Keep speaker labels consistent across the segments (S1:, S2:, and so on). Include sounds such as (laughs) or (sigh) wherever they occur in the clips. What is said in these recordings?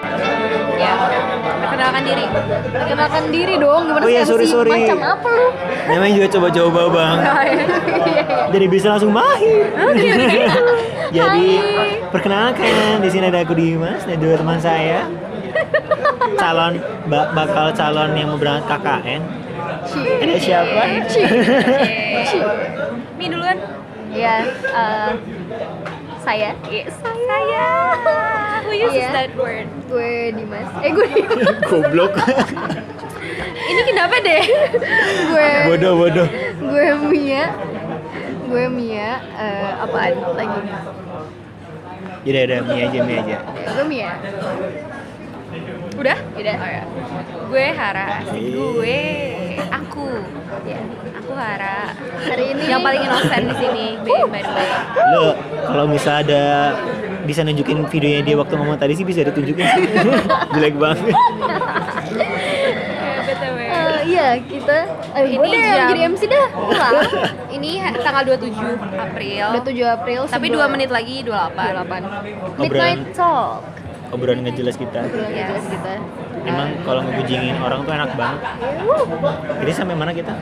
S1: Ya,
S2: Perkenalkan diri. Perkenalkan diri dong. Gimana
S3: Oh
S2: sih
S3: iya,
S2: MC?
S3: sorry, sorry.
S2: Macam apa lu?
S3: Namanya juga coba-coba bang. Jadi bisa langsung mahir. (laughs)
S1: Oh, iya,
S3: (laughs) Jadi
S2: Hai.
S3: perkenalkan di sini ada aku Dimas dan dua teman saya. Calon ba- bakal calon yang mau berangkat KKN. Ada
S1: (laughs)
S3: siapa?
S2: Ci. Ci.
S1: Mi duluan.
S2: Iya, eh, saya. Iya, saya.
S1: Who uses
S2: Iya.
S1: that word?
S2: Gue Dimas. Eh, gue Dimas.
S3: Goblok.
S1: Ini kenapa deh? (laughs)
S2: gue
S3: bodoh bodoh.
S2: gue Mia. Gue Mia. Eh, apaan lagi?
S3: Jadi ada Mia aja Mia aja.
S2: Ya, gue Mia.
S1: Udah?
S2: Yaudah.
S1: Oh, ya. Gue Hara.
S3: Yeay.
S1: Gue aku. Ya, Aku Hara.
S2: Hari ini
S1: Yang paling innocent di sini, by, by the way.
S3: Lo kalau misal ada bisa nunjukin videonya dia waktu ngomong tadi sih bisa ditunjukin (laughs) sih. Jelek banget.
S1: Eh, BTW.
S2: Eh, iya, kita eh,
S1: Ini
S2: ini deh, yang
S1: jam-
S2: jadi MC dah.
S1: (laughs)
S2: Pulang.
S1: Ini ha- tanggal 27 April.
S2: Udah 7 April.
S1: Tapi
S2: sebelum-
S1: 2 menit lagi 28.
S2: 28.
S3: Obrolan-
S2: Midnight Talk.
S3: Obrolan nggak jelas kita.
S2: Obrolan
S1: Yes.
S2: yes. kita.
S3: Emang kalau ngebujingin orang tuh enak banget.
S2: Wuh.
S3: Jadi sampai mana kita?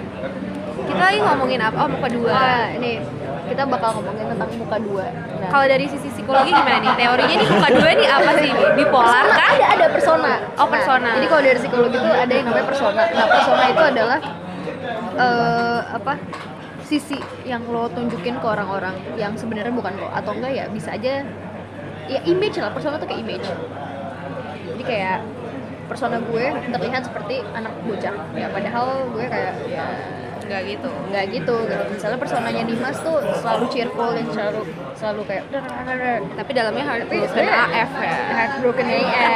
S1: Kita lagi ngomongin apa? Oh, muka dua.
S2: Wah, nih Nah, kita bakal ngomongin tentang muka dua. Nah,
S1: Kalau dari sisi psikologi gimana nih? Teorinya nih muka dua nih apa sih? Bipolar
S2: persona
S1: kah?
S2: ada ada persona.
S1: Oh, persona.
S2: Nah, jadi kalau dari psikologi itu ada yang namanya persona. Nah, persona itu adalah eh apa? sisi yang lo tunjukin ke orang-orang yang sebenarnya bukan lo atau enggak ya bisa aja ya image lah persona tuh kayak image jadi kayak persona gue terlihat seperti anak bocah ya padahal gue kayak ya
S1: Enggak gitu.
S2: nggak gitu gitu. misalnya personanya Dimas tuh selalu cheerful dan selalu selalu kayak "Dar, dar, dar, dar."
S1: Tapi dalamnya heartbroken
S2: sebenarnya-
S1: AF ya.
S2: heartbroken AF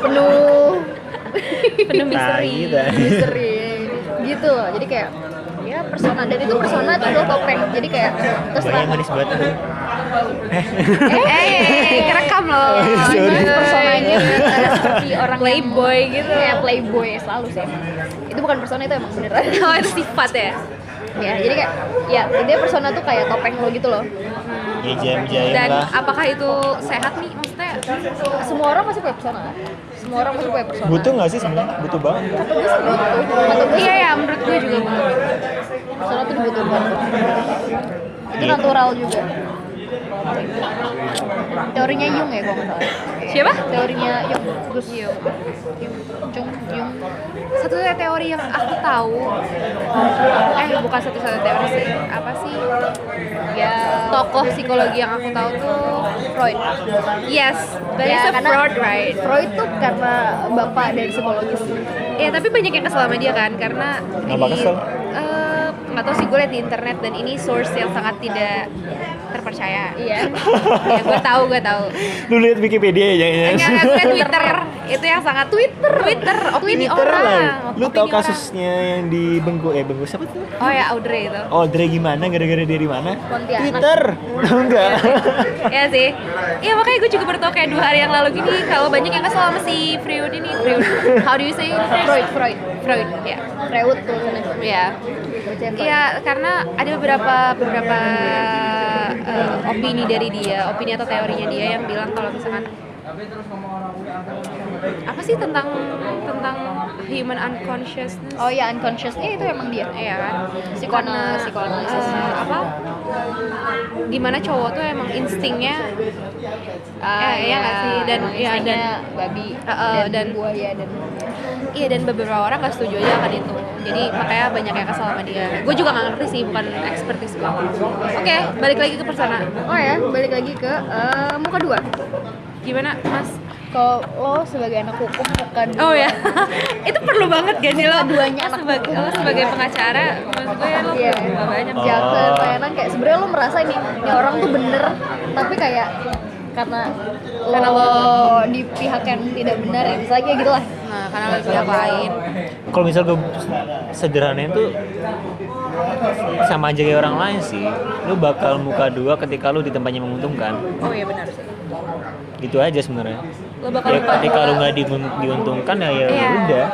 S2: penuh
S1: Penuh
S3: Nah,
S1: misteri.
S3: Tai, tai. (laughs)
S2: misteri gitu loh jadi kayak ya persona dan itu persona tuh lo topeng jadi kayak
S3: Wah,
S2: terserah
S3: yang manis banget tuh.
S1: Eh, kerekam loh.
S3: Sorry.
S2: Dimas personanya ada seperti orang yang-
S1: Playboy gitu.
S2: kayak playboy selalu sih itu bukan persona itu emang beneran (laughs)
S1: Oh, itu sifat ya.
S2: ya jadi kayak ya intinya persona tuh kayak topeng lo gitu loh
S3: Ya jam-jam
S1: Dan
S3: lah.
S1: apakah itu sehat nih maksudnya?
S2: semua orang pasti punya persona kan? semua orang pasti punya persona
S3: Butuh nggak sih sebenarnya? Butuh banget. nggak?
S2: kata gue sih butuh kata gue
S1: Iya ya, menurut gue juga betul.
S2: persona tuh dibutuhkan itu
S3: Iya.
S2: natural juga teorinya Jung ya kalau nggak salah
S1: Siapa?
S2: teorinya Jung Gus
S1: Jung.
S2: Jung Jung
S1: Satu teori yang aku tahu eh bukan satu-satu teori sih. Apa sih?
S2: ya
S1: Tokoh psikologi yang aku tahu tuh
S2: Freud
S1: yes, there
S2: Ya,
S1: is a
S2: karena-
S1: fraud right.
S2: Freud tuh karena bapak dari psikologis
S1: Ya tapi banyak yang kesel sama dia kan karena
S3: Kenapa
S1: di-
S3: kesel?
S1: eh, nggak tahu sih gue liat di internet dan ini source yang sangat tidak terpercaya.
S2: iya
S1: ya gue tahu gue
S3: (laughs)
S1: tahu.
S3: Lu lihat Wikipedia ya jangan.
S1: Enggak, enggak, enggak,
S3: (laughs)
S1: Twitter itu yang sangat Twitter, Twitter, opini
S3: Twitter
S1: orang.
S3: lah. Lu
S1: opini
S3: tahu
S1: orang.
S3: kasusnya yang di Bengku eh Bengku siapa tuh?
S1: Oh ya Audrey itu.
S3: Oh, Dre gimana gara-gara dia di mana?
S2: Pontianak.
S3: Twitter. Tahu enggak?
S1: ya sih. Iya makanya gue juga baru tahu kayak dua hari yang lalu gini kalau banyak yang kesel sama si Freud ini. Freud. How do you say it?
S2: Freud Freud
S1: Freud. Ya.
S2: Freud tuh sana
S1: Ya.
S2: iya
S1: Iya, karena ada beberapa beberapa eh, opini dari dia, opini atau teorinya dia yang bilang kalau misalkan apa sih tentang tentang human unconsciousness?
S2: oh ya unconscious eh itu emang dia
S1: Iya kan?
S2: Psikona-
S1: Karena,
S2: psikoanalisis.
S1: eh, apa? Dimana cowok tuh emang instingnya
S2: Ah,
S1: Eh, iya nggak sih? Dan-
S2: emang
S1: iya, dan-
S2: istrinya babi
S1: Eh, eh,
S2: dan
S1: dan-
S2: buaya dan
S1: Iya dan beberapa orang gak setuju aja akan itu Jadi makanya banyak yang kesal sama dia Gue juga gak ngerti sih, bukan expertise gue Oke, balik lagi ke persona
S2: Oh ya, balik lagi ke eh, muka dua.
S1: Gimana mas?
S2: Kalau lo sebagai anak hukum muka dua.
S1: Oh ya, (laughs) itu perlu banget gak sih lo?
S2: Keduanya anak
S1: sebagai, lo sebagai pengacara, menurut gue lo
S2: Iya.
S1: perlu banyak
S3: Oh.
S2: Jaksa pelayanan kayak sebenarnya lo merasa ini, ini orang tuh bener, tapi kayak karena lo,
S1: Karena lo-
S2: di pihak yang tidak benar ya misalnya kayak gitu lah.
S1: Nah, karena lo pihak lain
S3: (laughs) Kalau misal gue sederhananya tuh sama aja kayak orang lain sih. Lu bakal muka dua ketika lu di tempatnya menguntungkan.
S1: Oh iya benar sih
S3: Gitu aja sebenarnya.
S1: Lo bakal
S3: Ya
S1: lupa
S3: ketika lu nggak diun- diuntungkan ya ya
S1: Iya.
S3: udah.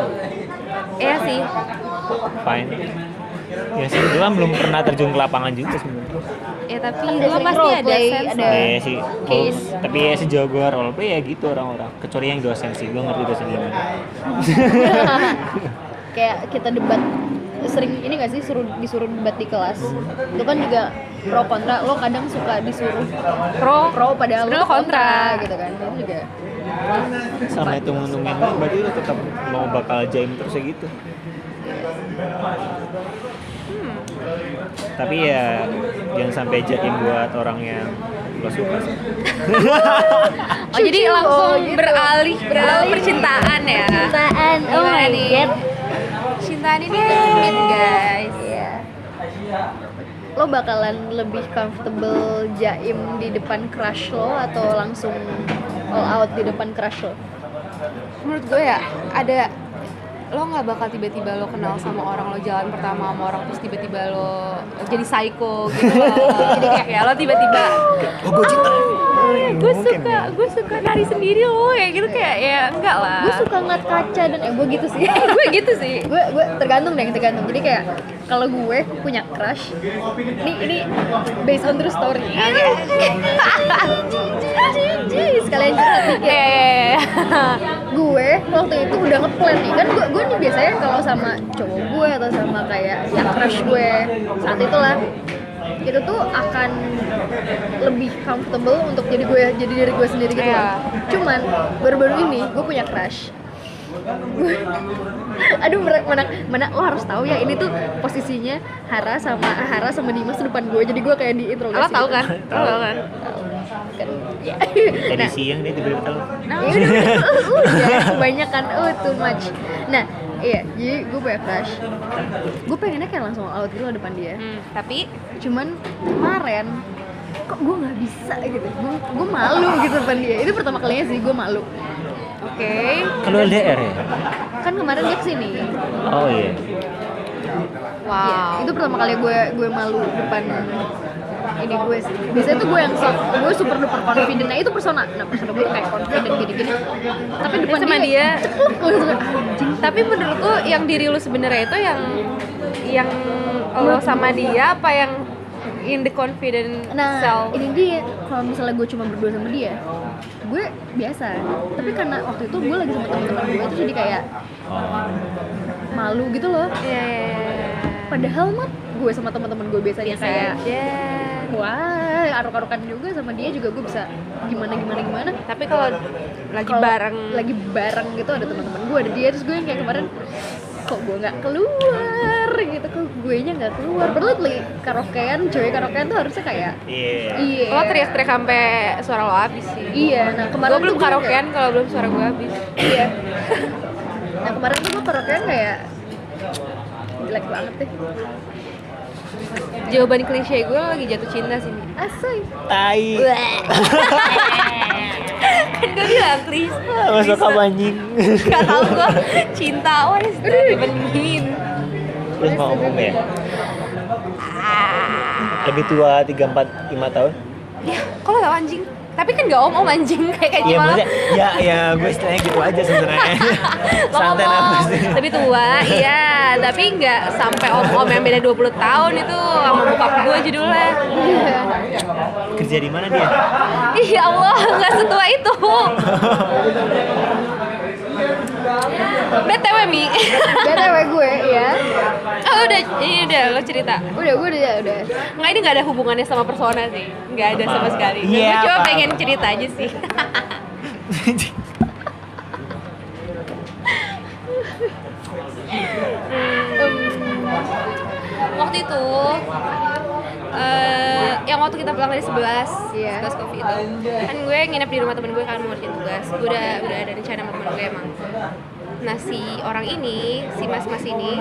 S1: Iya sih,
S3: Fine. Ya sih, gue kan belum pernah terjun ke lapangan juga sebenarnya.
S1: iya tapi
S2: Kan
S1: gue
S2: sering
S1: pasti
S2: role
S1: ada
S2: play,
S1: sense
S2: ada-
S1: lah.
S2: Eh,
S3: Iya sih,
S2: case.
S3: Kalau- tapi ya sejauh gue role play ya gitu orang-orang Kecuali yang dosen sih, gue ngerti dosen gimana
S2: kayak kita debat sering ini gak sih suruh disuruh debat di kelas itu kan juga pro kontra lo kadang suka disuruh
S1: pro
S2: pro padahal
S1: Sebenarnya lo
S2: tuh
S1: kontra.
S2: gitu kan itu juga
S3: Sama itu menguntungin lo, berarti lo tetap mau bakal jaim terus ya gitu
S1: Hmm.
S3: Tapi ya jangan sampai jaim buat orang yang lo suka sih.
S1: (laughs) oh jadi
S2: Cucu,
S1: langsung
S2: gitu.
S1: beralih ke percintaan ya
S2: cintaan
S1: oh my
S2: iya.
S1: God. cintaan ini rumit guys
S2: Iya. lo bakalan lebih comfortable jaim di depan crush lo atau langsung all out di depan crush lo
S1: menurut gue ya ada lo nggak bakal tiba-tiba lo kenal sama orang lo jalan pertama sama orang terus tiba-tiba lo jadi psycho gitu
S2: (laughs)
S1: loh. jadi kayak ya lo tiba-tiba
S3: Oh gue cinta ya.
S2: Iya,
S1: "Eh, gue suka
S2: ya.
S1: gue suka nari sendiri lo ya gitu kayak ya enggak lah
S2: gue
S1: (laughs)
S2: suka ngeliat kaca dan eh gue gitu sih (laughs)
S1: gue gitu sih
S2: gue gue tergantung deh tergantung jadi kayak kalau gue punya crush ini ini based on true story (laughs) sekalian curhat nih
S1: ya ya, ya.
S2: gue waktu itu udah ngeplan nih kan gue gue nih biasanya kalau sama cowok gue atau sama kayak ya crush gue saat itulah itu tuh akan lebih comfortable untuk jadi gue jadi diri gue sendiri gitu loh.
S1: Iya.
S2: cuman baru-baru ini gue punya crush (laughs) Gue- aduh mer- mana mana lo harus tahu ya ini tuh posisinya Hara sama Hara sama Dimas tuh depan gue jadi gue kayak di
S1: (laughs)
S2: interogasi gitu.
S1: lo tau kan lo
S3: Tahu.
S1: tau kan
S2: kan ya.
S3: Tadi
S2: Nah,
S3: siang dia tiba-tiba telepon.
S2: Nah, udah, udah, udah, kebanyakan, oh too much. Nah, iya, jadi gue punya crush. Gue pengennya kayak langsung out gitu loh depan dia.
S1: Hmm, tapi
S2: Cuman kemarin kok gue nggak bisa gitu. Gue gue malu gitu depan dia. Itu pertama kalinya sih gue malu.
S1: oke
S3: Kalau LDR ya?
S2: Kan kemarin dia kesini.
S3: Oh iya
S2: Iya,
S1: wow
S2: itu pertama kali gue gue malu depan ini gue sih. Biasanya tuh gue yang sok, gue super duper confident. Nah itu persona, nah persona gue kayak confident gini-gini. Tapi depan
S1: sama
S2: (laughs)
S1: dia-
S2: ceplok, gue langsung, anjing.
S1: tapi menurut lo yang diri lu sebenarnya itu yang yang lo sama dia apa yang in the confident
S2: Nah,
S1: self
S2: ini dia. Kalau misalnya gue cuma berdua sama dia, gue biasa. Tapi karena waktu itu gue lagi sama teman-teman gue itu jadi kayak
S3: Oh.
S2: malu gitu loh.
S1: Iya,
S2: Padahal mah gue sama teman-teman gue biasa dia kayak
S1: aja.
S2: wah arok-arokan juga sama dia juga gue bisa gimana gimana gimana.
S1: Tapi kalau lagi
S2: Kalau
S1: bareng
S2: lagi bareng gitu ada teman-teman gue ada dia terus gue yang kayak kemarin kok gue nggak keluar gitu kok gue nya nggak keluar padahal lagi karaokean cewek karaokean tuh harusnya kayak
S3: Iya.
S2: iya
S1: lo teriak-teriak sampai suara lo habis sih.
S2: iya nah kemarin
S1: Gue belum
S2: tuh gue kayak-
S1: karaokean kalau belum suara gue habis.
S2: iya nah kemarin tuh gue karaokean kayak jelek banget
S1: (laughs)
S2: deh
S1: Jawaban klise gue lagi jatuh cinta sih. Mi.
S2: asai
S3: Tai.
S1: Kan gue bilang klise.
S3: Masuk apa anjing?
S1: Gak tau gue cinta. oh, What is that even mean?
S3: (laughs) Terus mau ngomong ya? Lebih tua 3 4 5 tahun?
S1: Ya, kok lo tau anjing? Tapi kan gak om-om anjing (laughs) kayak kayak Eh,
S3: Iya
S1: malam.
S3: maksudnya ya ya gue istilahnya gitu aja sebenarnya.
S1: Lo
S3: Santai ya.
S1: ngomong,
S3: apa sih?
S1: Lebih tua, iya. Tapi nggak sampai om-om yang beda 20 tahun itu sama bokap gue judulnya.
S3: Kerja di mana dia?
S1: Ih ya Allah, nggak setua itu. BTW Mi, (laughs)
S2: btw gue ya
S1: oh, udah ini udah lo cerita.
S2: udah gue udah udah
S1: Nggak ini nggak ada hubungannya sama persona sih, nggak ada sama sekali.
S3: Iya,
S1: Gue cuma
S3: apa?
S1: pengen cerita aja sih. (laughs) waktu itu eh yang waktu kita pulang dari 11
S2: Iya.
S1: 11 kopi itu kan gue nginep di rumah temen gue kan mau ngerjain tugas gue udah udah ada rencana sama temen gue emang nah si orang ini si mas mas ini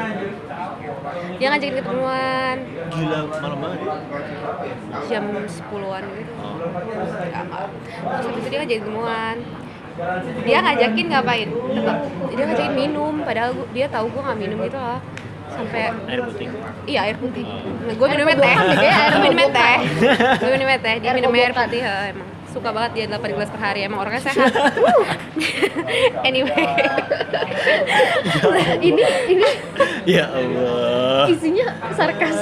S1: dia ngajakin ketemuan
S3: Gila malam banget. ya.
S1: jam 10-an gitu
S3: Oh.
S1: terus habis itu dia ngajakin ketemuan dia ngajakin ngapain Tebak. dia ngajakin minum padahal gua- dia tahu gue nggak minum gitu loh sampai
S3: Air putih.
S1: Iya air putih. Nah, gue minumnya teh.
S2: kobokan gitu ya, air
S1: Gue minumnya
S2: kobokan.
S1: teh. Gue minumnya teh. Dia
S2: Air
S1: minumnya air
S2: kobokan.
S1: putih. ya, emang suka banget dia 8 gelas per hari emang orangnya
S2: (laughs)
S1: sehat anyway
S2: ini ini
S3: ya Allah
S2: isinya sarkas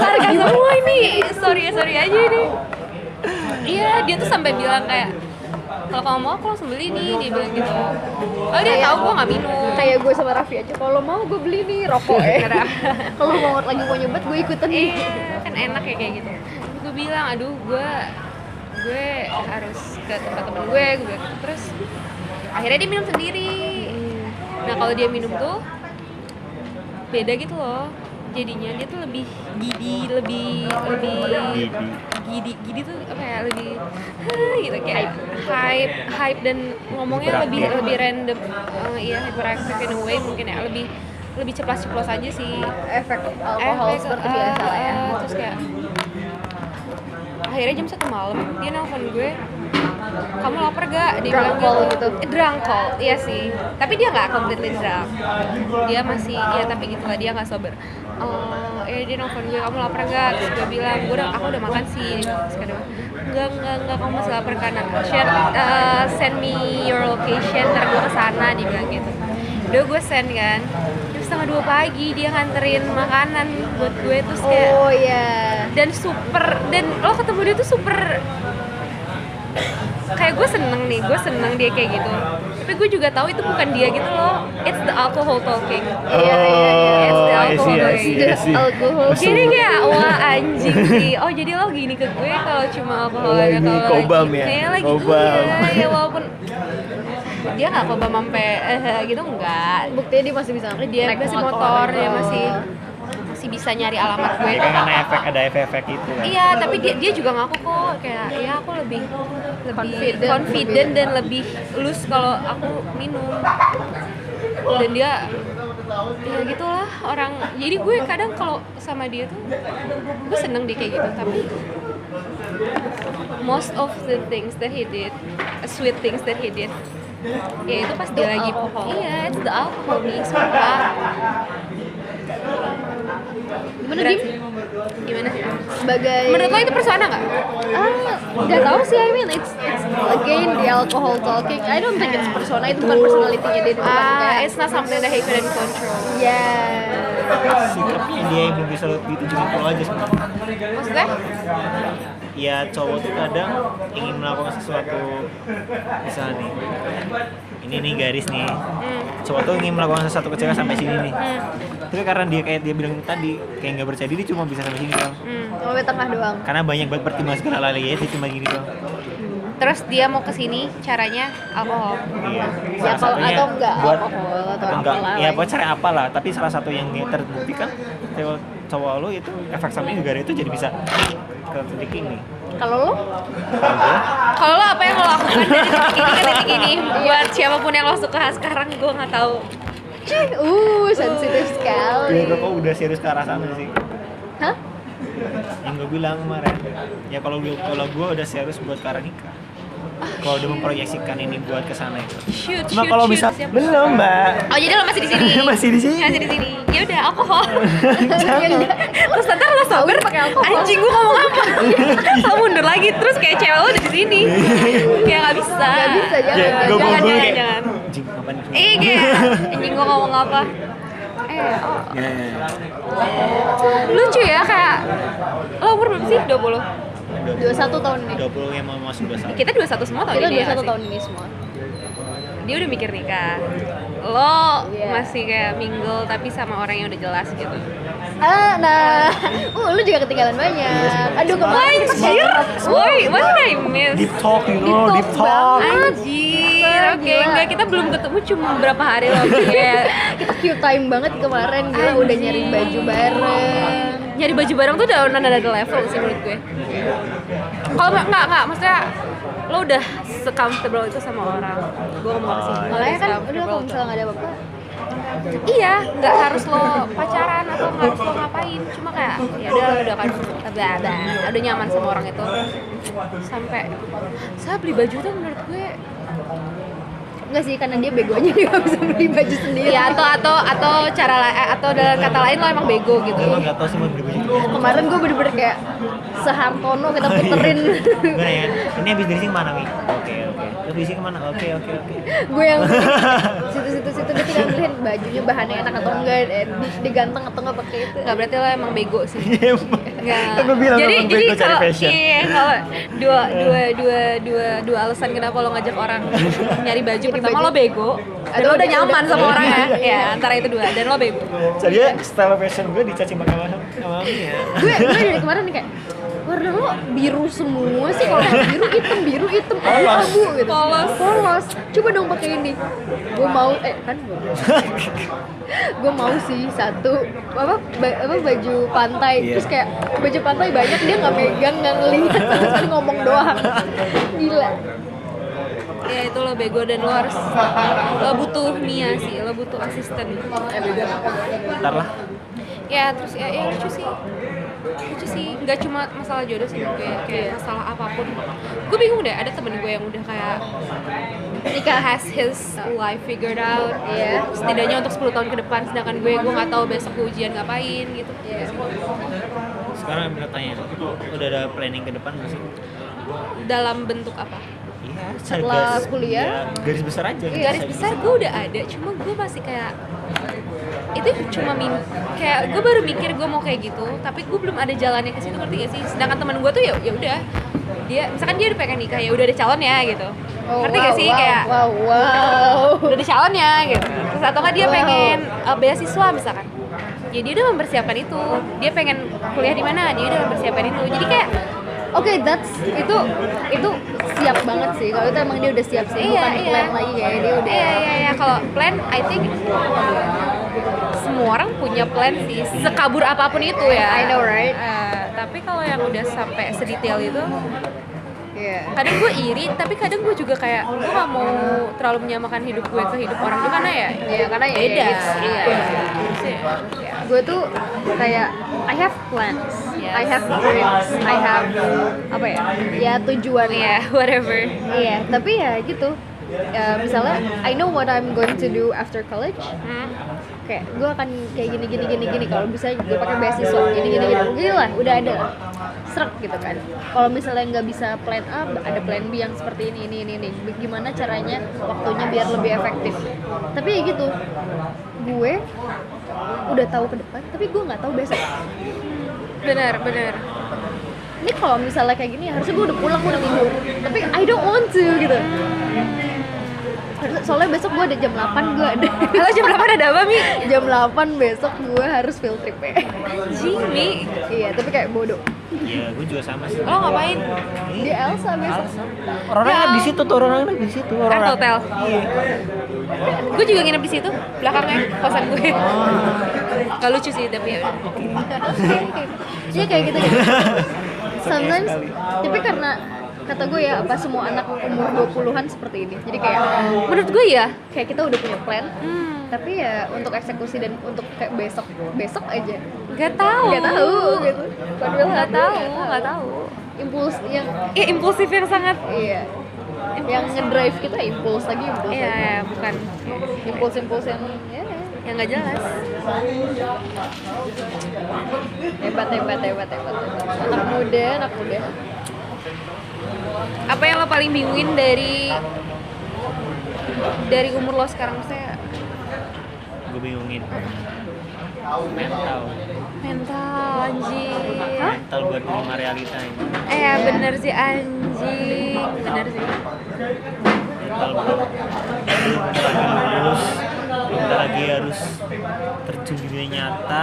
S1: sarkas semua ini sorry sorry aja ini iya dia tuh sampai bilang kayak kalau kamu mau aku langsung beli nih dia bilang gitu oh dia
S2: Kayak-
S1: tahu gue nggak minum
S2: kayak gue sama Raffi aja kalau mau gue beli nih rokok
S1: (laughs)
S2: ya kalau mau lagi mau nyobat gue ikutan nih
S1: Iya, kan enak ya kayak gitu gue bilang aduh gue gue harus ke tempat temen gue gue bilang gitu. terus akhirnya dia minum sendiri nah kalau dia minum tuh beda gitu loh jadinya dia tuh lebih gidi lebih lebih
S3: Gidi.
S1: gidi gidi tuh apa ya lebih (laughs) "Hah," gitu kayak hype hype dan ngomongnya lebih
S3: Hiperaktif.
S1: lebih random Eh, iya hyperactive in a way mungkin ya lebih lebih ceplas-ceplos aja sih
S2: efek alkohol
S1: Efek,
S2: seperti
S1: eh,
S2: biasa lah ya
S1: eh, terus kayak akhirnya jam satu malam dia nelfon gue kamu lapar gak? Dia bilang
S2: Drunk call gitu.
S1: Eh, Drunk call, iya sih. Tapi dia nggak completely drunk. Dia masih, ya tapi gitulah dia nggak sober. Eh, eh dia nelfon gue, kamu lapar gak? Terus gue bilang, gue udah, aku udah makan sih. Terus kata dia, enggak, enggak, enggak, kamu masih lapar kan? Nah, Share, eh, send me your location, ntar gue kesana, dia bilang gitu. Udah gue send kan, jam setengah dua pagi dia nganterin makanan buat gue terus kayak
S2: oh iya
S1: dan super dan lo ketemu dia tuh super kayak gue seneng nih gue seneng dia kayak gitu tapi gue juga tahu itu bukan dia gitu loh it's the alcohol talking
S2: Iya, iya, iya.
S3: oh I see I see I see
S2: Alkohol. ya?
S3: Masuk.
S1: jadi kayak wah anjing sih oh jadi lo gini ke gue kalau cuma alkohol
S3: Oh,
S1: aja,
S3: ini
S1: kalau
S3: kobam
S1: lagi-
S3: ya?
S1: kayak lagi
S3: Kobam.
S1: iya ya walaupun dia nggak kobam sampai eh, gitu enggak
S2: buktinya dia masih bisa
S1: dia
S2: naik gitu.
S1: masih motor dia masih masih bisa nyari alamat gue
S3: Ya kan karena efek ada efek-efek itu kan
S1: Iya, tapi dia dia juga ngaku kok kayak ya aku lebih lebih confident,
S2: Confident.
S1: dan lebih loose kalau aku minum. Dan dia ya gitulah orang. Jadi gue kadang kalau sama dia tuh gue seneng dia kayak gitu, tapi most of the things that he did, sweet things that he did, ya itu pas dia
S2: The
S1: lagi
S2: alcohol.
S1: iya it's the alcohol nih sumpah
S2: gimana
S1: Berat
S2: Dim?
S1: sih. gimana
S2: sebagai
S1: menurut lo itu persona nggak
S2: ah nggak tahu sih I mean it's, it's again the alcohol talking I don't think it's persona itu bukan personality-nya dia itu bukan
S1: Ah,
S2: kayak
S1: it's not something that he couldn't control.
S2: ya
S3: sikapnya dia yang belum bisa ditunjukin ke lo aja sebenarnya
S1: Maksudnya?
S3: ya cowok tuh kadang ingin melakukan sesuatu misalnya nih ini nih garis nih
S1: Hmm.
S3: cowok tuh ingin melakukan sesuatu ke cewek sampai sini nih
S1: Hmm.
S3: tapi karena dia kayak dia bilang tadi kayak nggak percaya diri cuma bisa sampai sini doang
S1: Hmm.
S2: sampai tengah doang
S3: karena banyak banget pertimbangan segala hal ya dia cuma gini doang
S1: Terus dia mau kesini, caranya alkohol.
S3: iya Salah
S2: ya kalau
S3: satunya
S2: atau enggak
S3: buat
S2: alkohol atau
S3: atau enggak
S2: apalah
S3: ya
S2: lain.
S3: pokoknya cara apalah tapi salah satu yang terbuktikan cowok cowok lo itu efek samping gara itu jadi bisa ke titik ini
S2: kalau
S1: (laughs)
S2: lo
S3: Kalau
S2: Oh,
S3: gua,
S1: Kalau lo apa yang lo lakukan dari titik ini ke titik ini buat siapapun yang lo suka sekarang gue nggak tahu.
S2: Cih, uh sensitif sekali
S3: ya gue kok udah serius ke arah sana sih
S2: hah
S3: yang gue bilang kemarin ya kalau gue kalau gue udah serius buat ke arah nikah kalau udah memproyeksikan ini buat ke sana itu
S1: Shoot, shoot,
S3: cuma kalau
S1: shoot.
S3: bisa
S1: Siap.
S3: belum mbak
S1: Oh jadi lo masih di
S3: (laughs)
S1: sini?
S2: Iya.
S3: masih di sini
S1: Masih di sini. Ya udah
S3: (laughs)
S1: alkohol.
S2: Ya,
S3: jangan
S2: iya.
S1: terus nanti lo sober
S2: pakai alkohol.
S1: Anjing gue ngomong
S3: (laughs)
S1: apa? lo mundur lagi terus kayak cewek lo udah di sini. ya nggak bisa.
S2: Nggak bisa, jangan,
S3: ya gue
S2: Jangan,
S3: mau
S2: jangan, Iya.
S3: kayak
S1: jangan.
S3: anjing kapan ini?"
S1: Eh,
S3: (laughs)
S1: kayak, anjing gue ngomong apa? Eh, oh,
S3: ya ya ya.
S1: lucu ya kayak lo umur berapa sih? 20?
S2: 21 tahun ini
S3: 20 yang mau masuk 21
S1: Kita 21 semua tahun
S2: kita
S1: ini ya nggak
S2: 21
S1: sih?
S2: tahun ini semua
S1: Dia udah mikir nikah Lo
S2: Iya.
S1: masih kayak mingle tapi sama orang yang udah jelas gitu
S2: ah nah uh lu juga ketinggalan banyak aduh kemarin
S1: Anjir!
S2: Uh,
S1: Woi, what did I miss?
S3: deep talk you know
S2: Deep
S3: deep talk
S2: talk
S1: Anjir,
S2: Wah,
S1: oke
S2: gila.
S1: enggak kita belum ketemu cuma berapa hari
S2: (laughs)
S1: lagi ya
S2: kita queue time banget kemarin gila udah nyari baju bareng
S1: Nyari baju bareng tuh udah another level sih menurut gue Kalau nggak, nggak, nggak, maksudnya lo udah se-comfortable itu sama orang Gue ngomong apa sih?
S2: Makanya kan udah
S1: Se-comfortable
S2: kalau misalnya nggak ada apa-apa
S1: iya nggak harus lo pacaran atau nggak harus lo ngapain cuma kayak ya udah udah kan udah udah udah nyaman sama orang itu sampai saya beli baju tuh menurut gue
S2: Enggak sih, karena dia begonya dia nggak bisa beli baju sendiri.
S1: Iya atau atau atau cara la- eh, atau dalam kata lain lo emang bego gitu.
S3: Emang gak tau sih mau beli baju
S2: Kemarin gue bener-bener kayak
S3: Oh,
S2: sehantono kita
S3: iya. (laughs)
S2: puterin.
S3: Gimana ya? Ini habis dari sini kemana, Mi? Oke, oke. Terus dari sini kemana? Oke, oke, oke.
S2: gue yang situ-situ situ dia tinggal pilihin bajunya bahannya enak atau enggak eh, di- diganteng atau enggak pakai itu.
S1: Nggak berarti lo emang bego sih.
S3: Emang. Kan
S1: Enggak.
S3: gua bilang
S1: jadi
S3: emang
S1: jadi
S3: bego cari
S1: kalau
S3: fashion.
S1: iya kalau dua dua dua dua dua alasan kenapa lo ngajak orang nyari baju
S2: Jadi
S1: pertama
S2: baju.
S1: lo bego
S2: Dan
S1: dan lo
S2: lo
S1: udah
S2: udah-
S1: nyaman sama
S2: udah-
S1: orang (laughs) ya
S2: Iya,
S1: ya
S2: iya.
S1: antara itu dua dan lo bego
S3: (laughs) Jadi style fashion gue dicaci maki sama sama Mi ya.
S2: gue gue dari kemarin nih kayak warna lo biru semua sih kalau nggak biru hitam biru hitam abu
S3: Polos.
S2: abu gitu
S1: Polos.
S2: polos coba dong pakai ini gue mau eh kan gue
S1: (laughs)
S2: gue mau sih satu apa ba- apa baju pantai
S3: Iya.
S2: terus kayak baju pantai banyak dia nggak megang nggak ngelihat sama sekali ngomong doang gila
S1: ya itu lo bego dan lo harus lo butuh Mia sih lo butuh asisten
S3: Ntar lah.
S1: ya terus ya, ya lucu sih lucu sih nggak cuma masalah jodoh sih gue kayak masalah apapun gue bingung deh ada temen gue yang udah kayak Nika has his life figured out ya.
S2: Iya.
S1: setidaknya untuk 10 tahun ke depan sedangkan gue gue nggak tahu besok gue ujian ngapain gitu
S3: Sekarang minta tanya, udah ada planning ke depan nggak sih?
S1: dalam bentuk apa
S3: Iya,
S2: Setelah
S3: garis-
S2: kuliah.
S3: iya, garis besar aja.
S1: garis besar gue udah ada cuma gue masih kayak itu cuma mimpi kayak gue baru mikir gue mau kayak gitu tapi gue belum ada jalannya ke situ ngerti gak sih sedangkan teman gue tuh ya ya udah dia misalkan dia udah pengen nikah ya udah ada calon ya gitu
S2: Oh,
S1: ngerti gak
S2: wow,
S1: sih
S2: wow,
S1: kayak
S2: wow wow
S1: udah ada calon ya gitu terus atau nggak dia
S2: Wow.
S1: pengen eh, beasiswa misalkan ya dia udah mempersiapkan itu dia pengen kuliah di mana dia udah mempersiapkan itu jadi kayak
S2: Oke, that's itu itu siap banget sih. Kalau itu emang dia udah siap sih,
S1: Iya,
S2: bukan
S1: iya.
S2: plan lagi kayak dia udah.
S1: Iya iya iya kalau plan I think semua orang punya plan sih sekabur apapun itu ya.
S2: I know, right?
S1: Eh, tapi kalau yang udah sampai sedetail itu
S2: Iya.
S1: kadang gue iri tapi kadang gue juga kayak gue gak mau terlalu menyamakan hidup gue ke hidup orang itu karena ya
S2: Iya, karena ya
S1: beda.
S2: it's-
S1: Iya.
S2: iya.
S1: Iya.
S2: Gue tuh kayak I have plans,
S1: Yes.
S2: I have dreams, I have apa ya? Ya tujuan
S1: Iya, (laughs) whatever.
S2: Iya, tapi ya gitu. Ya, misalnya I know what I'm going to do after college.
S1: Hmm.
S2: Kayak gue akan kayak gini gini gini gini kalau bisa gue pakai beasiswa gini gini gini gini lah udah ada lah. serak gitu kan kalau misalnya nggak bisa plan A ada plan B yang seperti ini ini ini ini gimana caranya waktunya biar lebih efektif tapi ya gitu gue udah tahu ke depan tapi gue nggak tahu besok
S1: Benar, benar.
S2: ini kalau misalnya kayak gini harusnya gue udah pulang gue udah tidur tapi I don't want to gitu Harusnya- soalnya besok gue ada jam 8 gue ada
S1: (laughs) Halo jam berapa ada apa, Mi?
S2: jam 8 besok gue harus field trip ya
S1: Jimmy,
S2: iya tapi kayak bodoh
S3: Iya, gue juga sama sih. Iya.
S1: lo ngapain?
S2: dia Oh, Elsa besok
S3: Orang ada di situ tuh, orang ada di situ.
S1: Kan
S3: Aurora.
S1: hotel.
S3: Iya.
S1: gue juga nginep di situ belakangnya kosan
S2: Oh.
S1: gue gak lucu sih tapi ya udah.
S2: iya kayak gitu gitu sometimes tapi karena kata gue ya apa semua anak umur 20-an seperti ini jadi kayak
S1: menurut gue ya
S2: kayak kita udah punya plan
S1: hmm,
S2: tapi ya untuk eksekusi dan untuk kayak besok besok aja
S1: gak tahu
S2: nggak tahu gitu padahal
S1: nggak tahu nggak tahu
S2: impuls yang
S1: ya impulsif yang sangat
S2: iya yang ngedrive kita impuls lagi impuls
S1: ya,
S2: lagi
S1: ya bukan
S2: impuls impuls yang ya,
S1: yang nggak jelas
S2: hebat hebat hebat hebat hebat. anak muda anak muda
S1: apa yang lo paling bingungin dari dari umur lo sekarang saya
S3: Gue bingungin. Mental.
S1: mental anjing
S3: Mental buat menerima realita ini.
S1: eh ya, bener sih anjing bener sih
S3: mental banget Bentar lagi lulus bentar lagi harus terjun di dunia nyata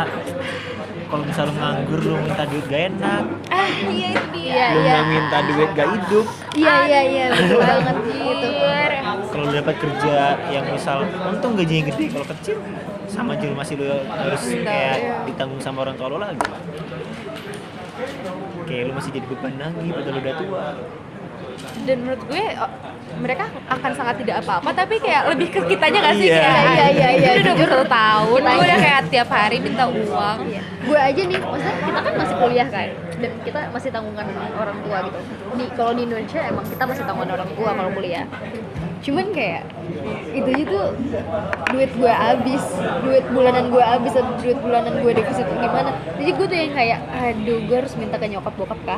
S3: kalau misalnya lu nganggur lu minta duit gak enak
S1: ah iya itu dia
S2: iya
S3: lu
S2: iya
S3: nggak minta duit gak hidup
S2: iya iya iya betul banget gitu
S1: Anjir.
S3: kalau lu dapat kerja yang misal untung gajinya gede kalau kecil sama aja lu masih lu harus
S2: iya.
S3: kayak ditanggung sama orang tua lu lagi kayak lu masih jadi beban lagi padahal lu udah tua
S1: dan menurut gue oh, mereka akan sangat tidak apa-apa tapi kayak lebih ke kitanya gak sih
S3: Iya.
S1: kayak
S2: Iya, iya, iya,
S1: "Gue udah
S2: jujur.
S1: 21 tahun gue udah kayak tiap hari minta uang
S2: gue aja nih maksudnya kita kan masih kuliah kan dan kita masih tanggungan orang tua gitu di kalau di Indonesia emang kita masih tanggungan orang tua kalau kuliah cuman kayak itu itu duit gue habis duit bulanan gue habis atau duit bulanan gue defisit atau gimana jadi gue tuh yang kayak aduh gue harus minta ke nyokap bokap kah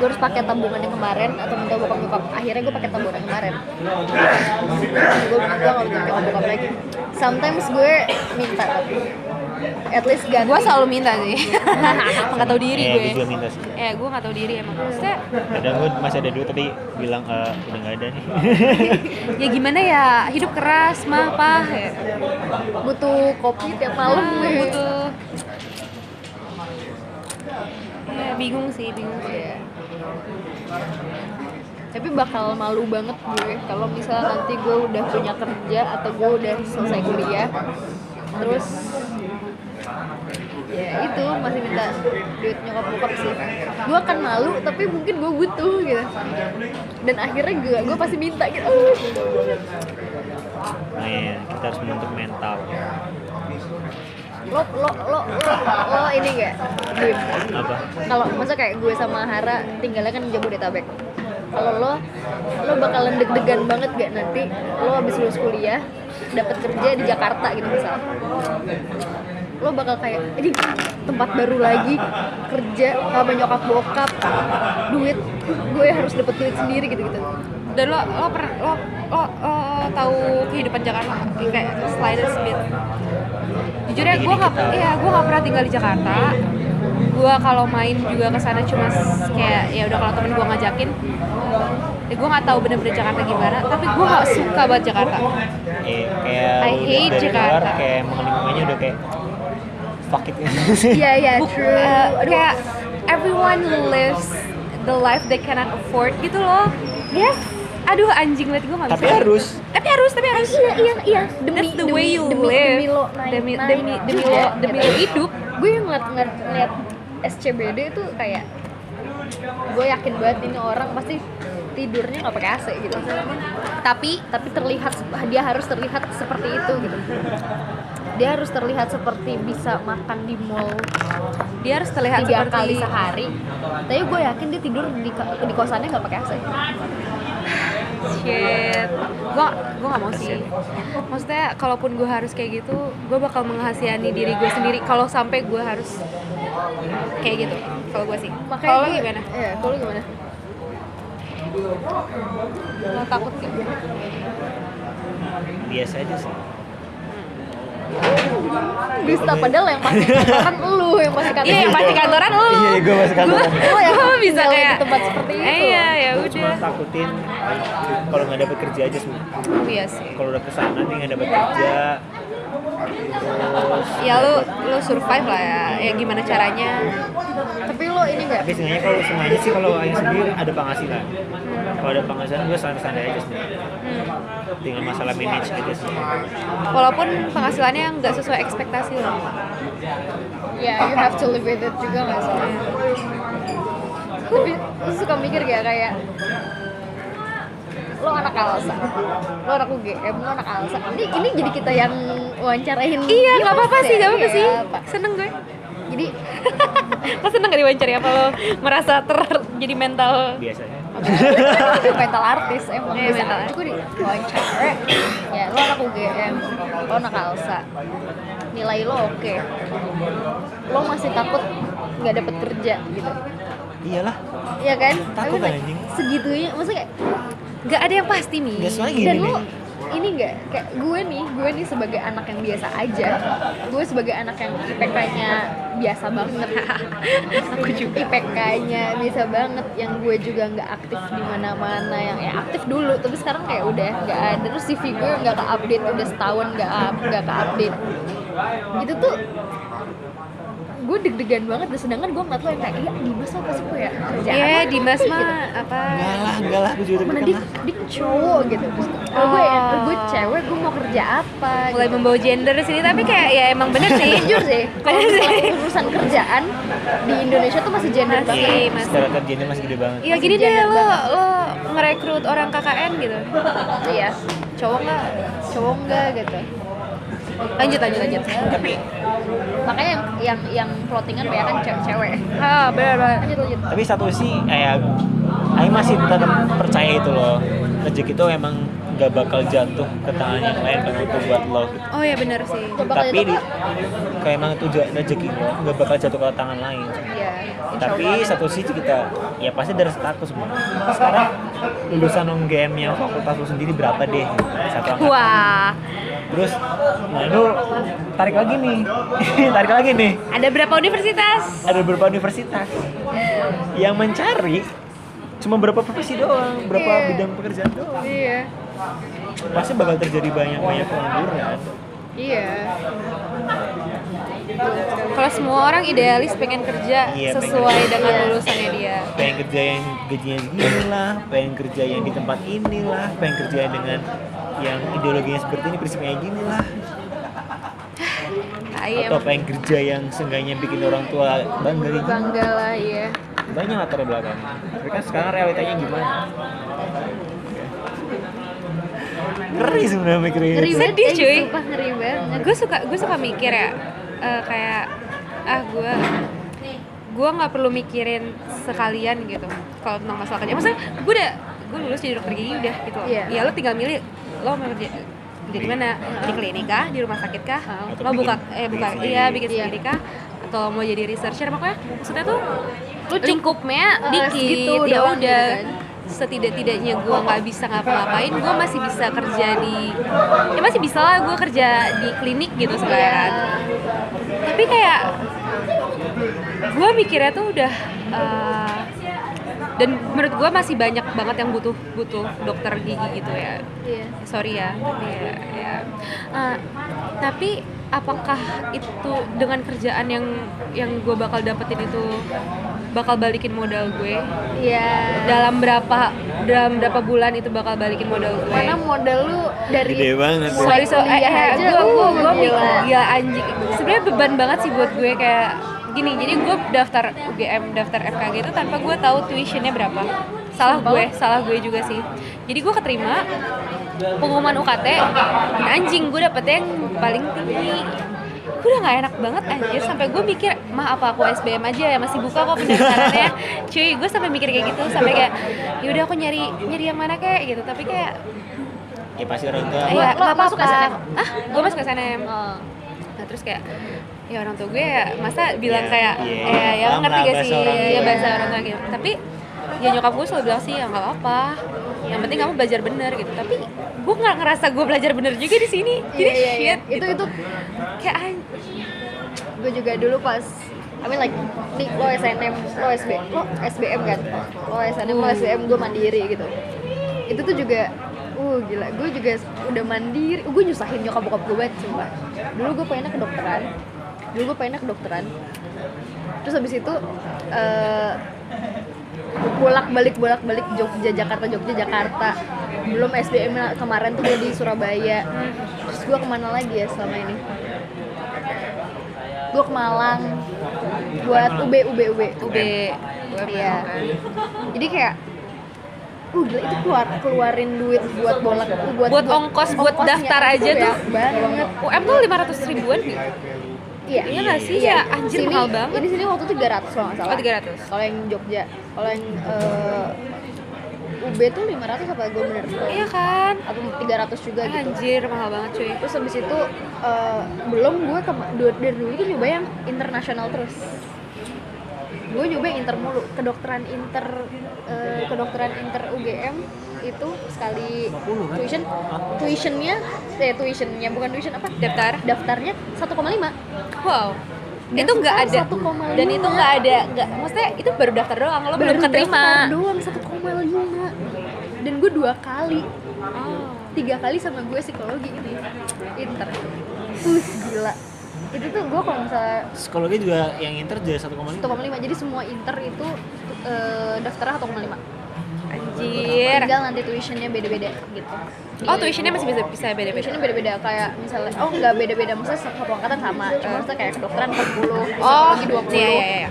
S2: gue harus pakai tabungan yang kemarin atau minta bokap nyokap akhirnya gue pakai tabungan yang kemarin gue gue nggak minta nyokap bokap lagi sometimes gue minta tapi at least ganti
S1: gue selalu minta sih nggak tahu diri
S3: Eh,
S1: gue
S3: gue juga Iya, minta sih.
S1: eh gue nggak tahu diri emang maksudnya
S3: Kadang gue masih ada duit tapi bilang eh, udah nggak ada
S1: (laughs)
S3: nih.
S1: ya gimana ya hidup keras mah pah ya.
S2: butuh kopi tiap malam
S1: Ah,
S3: Iya.
S2: gue
S1: butuh ya, bingung sih bingung sih
S2: Iya. Tapi bakal malu banget gue kalau misalnya nanti gue udah punya kerja atau gue udah selesai kuliah. Terus ya itu masih minta duit nyokap bokap sih gue akan malu tapi mungkin gue butuh gitu dan akhirnya gue gue pasti minta gitu "Oh,
S3: Nah, iya, kita harus membentuk mental.
S2: lo lo lo lo, lo ini gak duit
S3: Apa?
S2: kalau masa kayak gue sama Hara tinggalnya kan di Jabodetabek kalau lo lo bakalan deg-degan banget gak nanti lo habis lulus kuliah dapat kerja di Jakarta gitu misal lo bakal kayak ini tempat baru lagi kerja sama nyokap bokap duit gue harus dapat duit sendiri gitu gitu
S1: dan lo lo pernah lo lo, lo tahu kehidupan Jakarta kayak slider speed jujur ya gue nggak ya gue nggak pernah tinggal di Jakarta gue kalau main juga ke sana cuma s- kayak ya udah kalau temen gue ngajakin ya gue nggak tahu bener-bener Jakarta gimana tapi gue nggak suka banget Jakarta
S3: Eh, kayak
S1: I
S3: lu
S1: hate
S3: lihat dari
S1: Jakarta.
S3: luar kayak emang lingkungannya udah kayak fuck it.
S2: iya iya
S1: Buk-
S2: true
S1: eh,
S2: aduh
S1: kayak everyone lives the life they cannot afford gitu loh
S2: yes
S1: aduh anjing liat gue nggak
S3: tapi
S1: bisa.
S3: harus
S1: tapi harus tapi harus
S2: iya iya iya demi
S1: That's the way you
S2: demi,
S1: live.
S2: demi lo Iya. naik
S1: Demi-
S2: naik gitu.
S1: demi- demi
S2: juga,
S1: lo- demi lo hidup.
S2: gue yang ngeliat ngeliat, ngeliat SCBD itu kayak gue yakin banget ini orang pasti tidurnya nggak pakai AC gitu tapi tapi terlihat dia harus terlihat seperti itu gitu dia harus terlihat seperti bisa makan di mall
S1: dia harus terlihat
S2: tiga
S1: seperti
S2: kali sehari tapi gue yakin dia tidur di, di kosannya nggak pakai AC
S1: shit gua gua nggak mau sih maksudnya kalaupun gua harus kayak gitu gua bakal menghasihani diri gua sendiri kalau sampai gua harus kayak gitu kalau gua sih
S2: makanya
S1: kalau lu
S2: gue-
S1: gimana
S2: iya kalau lu gimana
S1: lo takut gak?
S3: biasa aja sih.
S2: Dusta padahal yang
S1: (laughs)
S2: pasti kantoran lu yang pasti kantoran.
S1: iya yang pasti kantoran lo
S3: Iya, gue masih kantoran.
S2: Lu yang
S1: gua Oh, ya. (laughs) bisa
S2: tinggal di
S1: kayak
S2: tempat seperti itu.
S1: Eh, iya ya udah
S3: Cuma takutin kalau nggak dapet kerja aja sih.
S1: iya sih
S3: Kalau udah kesana nih nggak dapet kerja, gitu.
S1: ya lu lu survive lah ya ya gimana caranya
S2: Tapi lu ini enggak
S3: tapi sebenarnya kalau semuanya sih kalau yang sendiri ada penghasilan. Kalau ada penghasilan gue santai-santai aja sebenarnya.
S1: Hmm.
S3: Tinggal masalah manage aja sih.
S1: walaupun penghasilannya nggak sesuai ekspektasi lo
S2: ya you have to live with it juga nggak sih. Tapi lu suka mikir gak kayak lo anak Alsa, lo anak UGM, lo anak Alsa. Ini ini jadi kita yang wawancarain.
S1: iya nggak
S2: Dimas
S1: apa-apa
S2: ya?
S1: sih nggak apa-apa
S2: Iya,
S1: sih
S2: Pak.
S1: seneng gue (laughs)
S2: Jadi
S1: lo seneng gak diwawancari apa lo merasa ter jadi mental
S3: Biasanya.
S2: mental artis emang
S1: Iya,
S2: bisa
S1: mental
S2: aja gue diwawancara ya lo anak UGM lo anak Alsa nilai lo oke lo masih takut nggak dapet kerja gitu
S3: (laughs) Iyalah.
S2: Iya kan
S3: Takut
S2: Tapi,
S3: anjing.
S2: segitunya maksudnya kayak
S1: nggak ada yang pasti mi
S3: Nggak soalnya gini
S2: dan lo
S3: nih.
S2: ini nggak kayak gue nih gue nih sebagai anak yang biasa aja gue sebagai anak yang IPK-nya biasa banget (laughs) aku juga IPK-nya biasa banget yang gue juga nggak aktif di mana-mana yang ya aktif dulu tapi sekarang kayak udah nggak ada terus CV gue nggak ke update udah setahun nggak up nggak ke update gitu tuh gue deg-degan banget dan sedangkan gue ngeliat lo yang kayak iya Dimas lo pasti punya kerjaan
S1: Iya,
S2: lah."
S1: Dimas
S2: Gitu.
S1: mah apa?
S3: Enggak lah, enggak lah. Gue juga
S2: mana
S3: deg-degan
S2: dia,
S3: lah.
S2: dia cowok gitu terus kalau gue ya
S1: Oh.
S2: gue cewek gue mau kerja apa
S1: Mulai
S2: gitu. Eh,
S1: membawa gender di sini, tapi kayak ya emang bener
S3: (laughs)
S1: sih.
S2: jujur
S1: (laughs)
S2: sih kalau
S1: Bener Iya sih.
S2: misalnya urusan kerjaan di Indonesia tuh masih gender
S1: Masih.
S2: banget
S3: Iya,
S1: Mas.
S3: stereotip gender masih gede banget.
S1: Ya gini deh, lo lo ngerekrut orang KKN gitu.
S2: iya
S1: Cowok nggak?
S2: cowok enggak gitu
S1: Lanjut lanjut lanjut.
S2: makanya yang yang yang plottingan banyak kan cewek-cewek
S1: Ah, bener bener.
S2: lanjut lanjut
S3: tapi satu sih kayak Aing masih tetap percaya itu loh rezeki itu emang gak bakal jatuh ke tangan yang lain kan itu buat lo gitu.
S1: oh ya benar sih
S2: Gak bakal
S3: tapi
S2: jatuh,
S3: di, kayak emang itu ja- rezeki lo gak bakal jatuh ke tangan lain
S2: Iya. insya
S3: tapi
S2: Allah.
S3: satu sisi kita ya pasti dari status sebenarnya sekarang lulusan UGM yang fakultas lu sendiri berapa deh satu angkatan
S1: wah
S3: terus nah itu tarik lagi nih (laughs) tarik lagi nih
S1: ada berapa universitas
S3: ada beberapa universitas yang mencari cuma berapa profesi doang, berapa
S2: Iya.
S3: bidang pekerjaan doang.
S2: Iya.
S3: Pasti bakal terjadi banyak banyak pengangguran.
S2: Iya.
S1: kalau semua orang idealis pengen kerja
S3: Iya, pengen
S1: sesuai
S3: kerja.
S1: dengan lulusannya dia
S3: Pengen kerja yang gajinya segini lah, pengen kerja yang di tempat inilah, pengen kerja yang dengan yang ideologinya seperti ini, prinsipnya gini lah.
S1: Iya,
S3: Atau pengen kerja yang seenggaknya bikin orang tua bangga gitu.
S2: Bangga lah ya.
S3: Banyak latar belakang. Tapi kan sekarang realitanya gimana? Ngeri sebenarnya mikirin
S2: Ngeri
S3: itu.
S2: banget,
S1: Iya Sedih,
S2: eh,
S1: cuy.
S2: Sumpah ngeri banget.
S1: gue suka gue suka mikir ya eh, kayak ah gue gue nggak perlu mikirin sekalian gitu kalau tentang masalah kerja maksudnya gue udah gue lulus jadi dokter gigi udah gitu
S2: Iya.
S1: ya lo tinggal milih lo mau kerja kerja di mana di klinik kah di rumah sakit kah
S3: Atau
S1: mau buka
S3: bikin-
S1: eh buka
S3: bikin
S1: iya
S3: sendiri.
S1: bikin
S2: Iya.
S1: sendiri kah atau mau jadi researcher pokoknya maksudnya tuh
S2: Lu cukup-
S1: lingkupnya
S2: eh,
S1: dikit
S2: segitu
S1: ya
S2: doang gitu
S1: udah
S2: kan.
S1: setidak-tidaknya gue nggak bisa ngapa-ngapain gue masih bisa kerja di ya masih bisa lah gue kerja di klinik gitu sebenarnya kan.
S2: Ah,
S1: tapi kayak gue mikirnya tuh udah eh, dan menurut gue masih banyak banget yang butuh butuh dokter gigi gitu ya
S2: Iya.
S1: sorry ya tapi ya, ya. Eh, tapi apakah itu dengan kerjaan yang yang gue bakal dapetin itu bakal balikin modal gue
S2: Iya.
S1: dalam berapa dalam berapa bulan itu bakal balikin modal gue
S2: Karena modal lu dari
S3: Gede banget. ya.
S1: sorry so eh,
S2: kuliah
S1: eh,
S2: aja,
S1: gue gue
S2: uh,
S1: gue
S2: gila.
S1: mikir- gila anjing sebenarnya beban banget sih buat gue kayak gini jadi gue daftar UGM daftar FKG itu tanpa gue tahu tuitionnya berapa salah gue salah gue juga sih jadi gue keterima pengumuman UKT anjing gue dapet yang paling tinggi gue udah gak enak banget anjir sampai gue mikir mah apa aku SBM aja ya masih buka kok pendaftarannya cuy gue sampai mikir kayak gitu sampai kayak yaudah aku nyari nyari yang mana kayak gitu tapi kayak
S3: Ya pasti orang tua
S2: Lo-
S1: Iya,
S2: lo
S1: nggak
S2: masuk
S1: apa-apa.
S2: SNM?
S1: Ah, gue masuk SNM.
S2: Oh.
S1: Nah, terus kayak ya orang tua gue ya masa bilang
S3: Iya,
S1: kayak
S3: iya.
S1: eh, ya
S3: Paham
S1: ngerti
S3: lah
S1: gak
S3: bahasa
S1: sih
S3: orang
S1: ya
S2: tua.
S1: bahasa orang tua gitu. Tapi ya nyokap gue selalu bilang sih ya nggak apa-apa. Yang penting kamu belajar bener gitu. Tapi gue nggak ngerasa gue belajar bener juga di sini. Jadi
S2: Iya, iya, iya.
S1: shit. gitu.
S2: Itu itu
S1: kayak an-
S2: gue juga dulu pas I mean like nih lo SNM, lo SB, lo SBM kan, lo SNM, lo SBM gue mandiri gitu. Itu tuh juga, uh gila, gue juga udah mandiri, gue nyusahin nyokap bokap gue banget sumpah. Dulu gue pengennya kedokteran, dulu gue pengennya kedokteran. Terus habis itu eh bolak balik bolak balik Jogja Jakarta Jogja Jakarta belum SBM lah, kemarin tuh gue di Surabaya terus gue kemana lagi ya selama ini gue ke Malang buat UB UB UB
S1: UB gue
S2: Iya.
S1: bilang kan.
S2: jadi kayak uh gila itu keluar keluarin duit buat bolak uh, buat
S1: Buat ongkos, buat
S2: ongkosnya
S1: daftar
S2: itu
S1: aja tuh.
S2: banyak banget
S1: UM tuh 500 ribuan gitu. nih.
S2: iya
S1: Iya nggak sih?
S2: Iya.
S1: Ya anjir
S2: Sini-
S1: mahal banget.
S2: Ini sini waktu itu 300 kalau nggak salah.
S1: Oh, 300.
S2: Kalau yang Jogja, kalau yang eh, UB tuh 500 apa gue bener?
S1: Iya kan?
S2: Atau 300 juga gitu.
S1: Anjir mahal banget cuy.
S2: Terus habis itu eh, belum gue kema- du- dari dulu itu nyoba yang internasional terus. Gue nyoba yang inter mulu, kedokteran inter eh, kedokteran inter UGM itu sekali tuition tuitionnya eh tuitionnya bukan tuition apa
S1: Daftar.
S2: daftarnya 1,5
S1: Wow. itu nggak ada
S2: 1,5.
S1: dan itu nggak ada nggak maksudnya itu baru daftar doang Oh, lo belum
S2: Baru
S1: keterima
S2: daftar doang 1,5 dan gue dua kali tiga kali sama gue psikologi ini inter Wih, gila itu tuh gue kalau misalnya
S3: Psikologi juga yang inter jadi 1,5
S2: 1,5 jadi semua inter itu eh, daftarnya 1,5
S1: anjir
S2: tinggal nanti tuitionnya beda-beda gitu
S1: Iya. oh tuitionnya masih bisa bisa beda beda
S2: tuitionnya beda-beda kayak misalnya oh nggak beda-beda maksudnya satu angkatan sama cuma maksudnya kayak kedokteran 40
S1: oh
S2: psikologi 20
S1: iya iya iya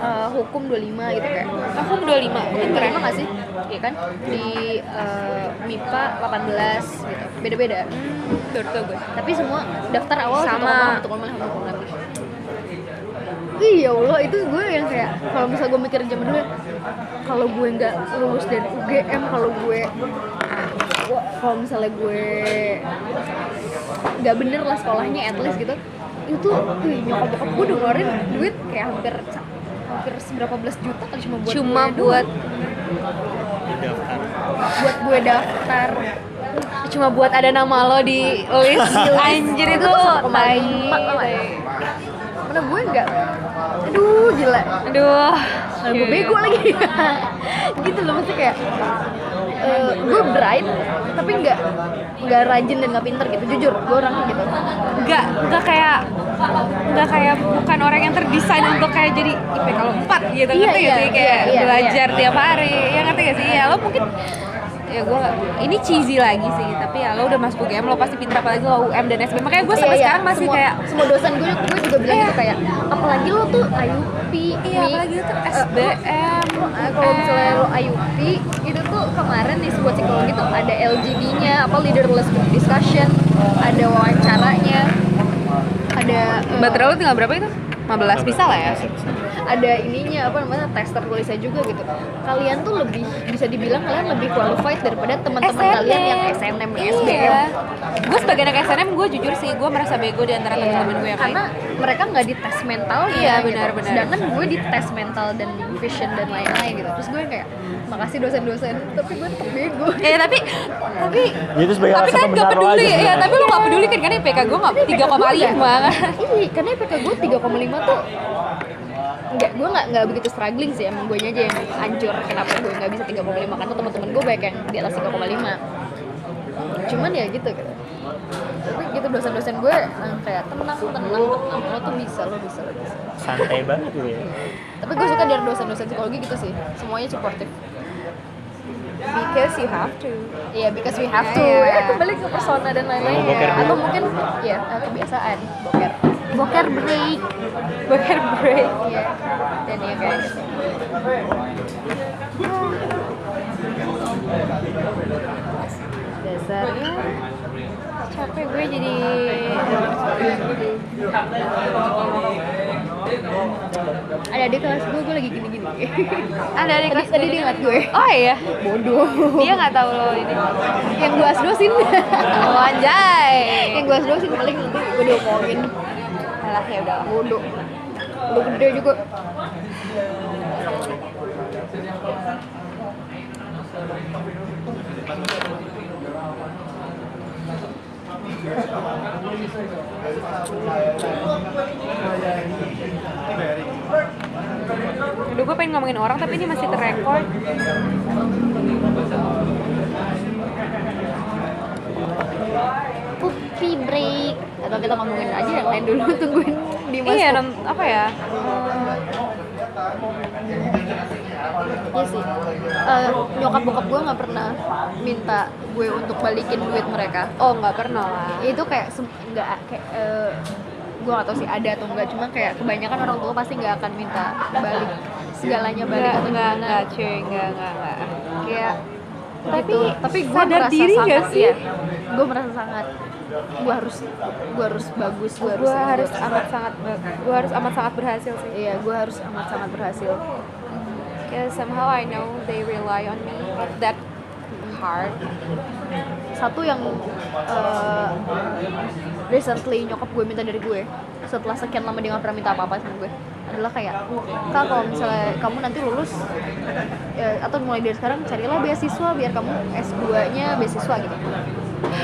S2: eh, hukum 25 gitu kayak
S1: aku dua lima
S2: Pinter emang gak sih? Iya kan? Di eh, MIPA 18 gitu. Beda-beda.
S1: baru tau gue
S2: Tapi semua daftar awal
S1: Sama.
S2: Satu koma lima, satu koma lima, satu koma lima. Ih, ya Allah, itu gue yang kayak kalau misal gue mikir zaman dulu ya, kalau gue nggak lulus dari UGM, kalau gue gua- kalau misalnya gue nggak bener lah sekolahnya at least gitu itu wih, nyokap bokap gue udah ngeluarin duit kayak hampir hampir seberapa belas juta kali cuma buat
S1: Cuma
S2: gue
S1: buat
S3: di daftar
S2: buat gue daftar
S1: cuma buat ada nama lo di list (laughs) anjir itu tai.
S2: karena gue nggak aduh gila
S1: Aduh, Iya,
S2: Nah, gue bego lagi (laughs) gitu loh maksudnya kayak eh, gue bright tapi nggak nggak rajin dan nggak pinter gitu jujur gue orangnya gitu
S1: Enggak, enggak kayak enggak kayak bukan orang yang terdesain untuk kayak jadi IPK lo 4 gitu
S2: Iya,
S1: ngerti gak
S2: iya,
S1: sih kayak
S2: iya, iya,
S1: belajar tiap hari. Ya ngerti gak sih? Ya lo mungkin ya gue ini cheesy lagi sih tapi ya lo udah masuk UGM lo pasti pintar apalagi lo UM dan SBM makanya gue sampai
S2: Iya, iya.
S1: sekarang masih
S2: semua,
S1: kayak
S2: semua dosen gue gue juga bilang
S1: Iya.
S2: gitu kayak apalagi lo tuh IUP
S1: iya
S2: Mi.
S1: apalagi itu
S2: Eh,
S1: SBM
S2: lo- lo- Eh, kalau misalnya lo IUP itu tuh kemarin di sebuah psikologi tuh ada LGD-nya apa leaderless group discussion ada wawancaranya ada eh,
S1: baterai lo tinggal berapa itu 15 bisa lah ya
S2: ada ininya apa namanya tes tertulisnya juga gitu kalian tuh lebih bisa dibilang kalian lebih qualified daripada teman-teman kalian yang SNM
S1: Iya.
S2: dan SBM
S1: Gue sebagai anak SNM, gue jujur sih, gue merasa bego di antara temen-temen gue yang
S2: karena
S1: lain.
S2: mereka nggak dites mental gitu.
S1: Iya, benar-benar.
S2: sedangkan gue dites mental dan vision dan lain-lain gitu terus gue kayak makasih dosen-dosen tapi gue tetap bego
S1: Ya tapi tapi
S3: Ya, itu sebagai
S1: tapi
S3: alasan gitu.
S1: kan gak
S3: pembenar
S1: peduli
S3: lo aja
S1: ya,
S3: sebenarnya.
S1: tapi lo gak peduli kan karena IPK gue gak tiga koma lima kan.
S2: iya karena IPK gue 3,5 tuh Enggak, gue nggak nggak begitu struggling sih emang gue aja yang anjur kenapa gue nggak bisa 3,5 karena teman-teman gue banyak yang di atas 3,5 cuman ya gitu gitu tapi gitu dosen-dosen gue eh, kayak tenang tenang tenang lo tuh bisa lo bisa lo bisa
S3: santai banget gitu ya
S2: tapi gue suka dari dosen-dosen psikologi gitu sih semuanya supportive
S1: Because you have to.
S2: Iya, because we have to.
S1: Iya.
S2: Eh, kembali ke persona dan lain-lain.
S3: Mau boker dulu.
S2: Atau mungkin ya eh, kebiasaan boker. Boker break.
S1: Boker kan break.
S2: Iya. Dan ya kayak gitu.
S1: Dasarnya capek gue jadi
S2: Ada adik kelas gue, gue lagi (laughs) gini-gini.
S1: ada ada
S2: Tadi- tadi dia ingat gue. Iya
S1: Oh iya,
S2: Bodoh.
S1: dia nggak tahu lo ini.
S2: Yang gue asdosin.
S1: Oh, anjay.
S2: Yang gue asdosin paling nanti gue diomongin.
S1: Alah ya udah.
S2: Bodoh. Udah gede juga.
S1: Aduh gue pengen ngomongin orang tapi ini masih terrekord.
S2: Pupi break. Atau kita ngomongin aja yang lain dulu. (laughs) Tungguin di mas.
S1: Iya, non, apa ya?
S2: Iya sih. Eh, nyokap bokap gue nggak pernah minta gue untuk balikin duit mereka.
S1: Oh nggak pernah lah.
S2: Itu kayak sem- nggak kayak eh, gue gak tau sih ada atau enggak cuma kayak kebanyakan orang tua pasti nggak akan minta balik segalanya
S1: Nggak,
S2: balik atau
S1: nggak,
S2: gimana.
S1: nggak cuy, nggak, nggak, nggak.
S2: kayak
S1: Tapi
S2: gitu. tapi gue
S1: sadar
S2: merasa
S1: diri
S2: sangat
S1: nggak sih?
S2: gue merasa sangat gue harus gue harus bagus gue harus
S1: Gue
S2: ini, gua
S1: harus amat sangat, gue harus amat sangat berhasil sih.
S2: iya gue harus amat sangat berhasil
S1: Yeah, somehow I know they rely on me at that hard.
S2: satu yang eh, recently nyokap gue minta dari gue setelah sekian lama dia nggak pernah minta apa-apa sama gue adalah kayak kak kalau misalnya kamu nanti lulus ya, atau mulai dari sekarang carilah beasiswa biar kamu S2 nya beasiswa gitu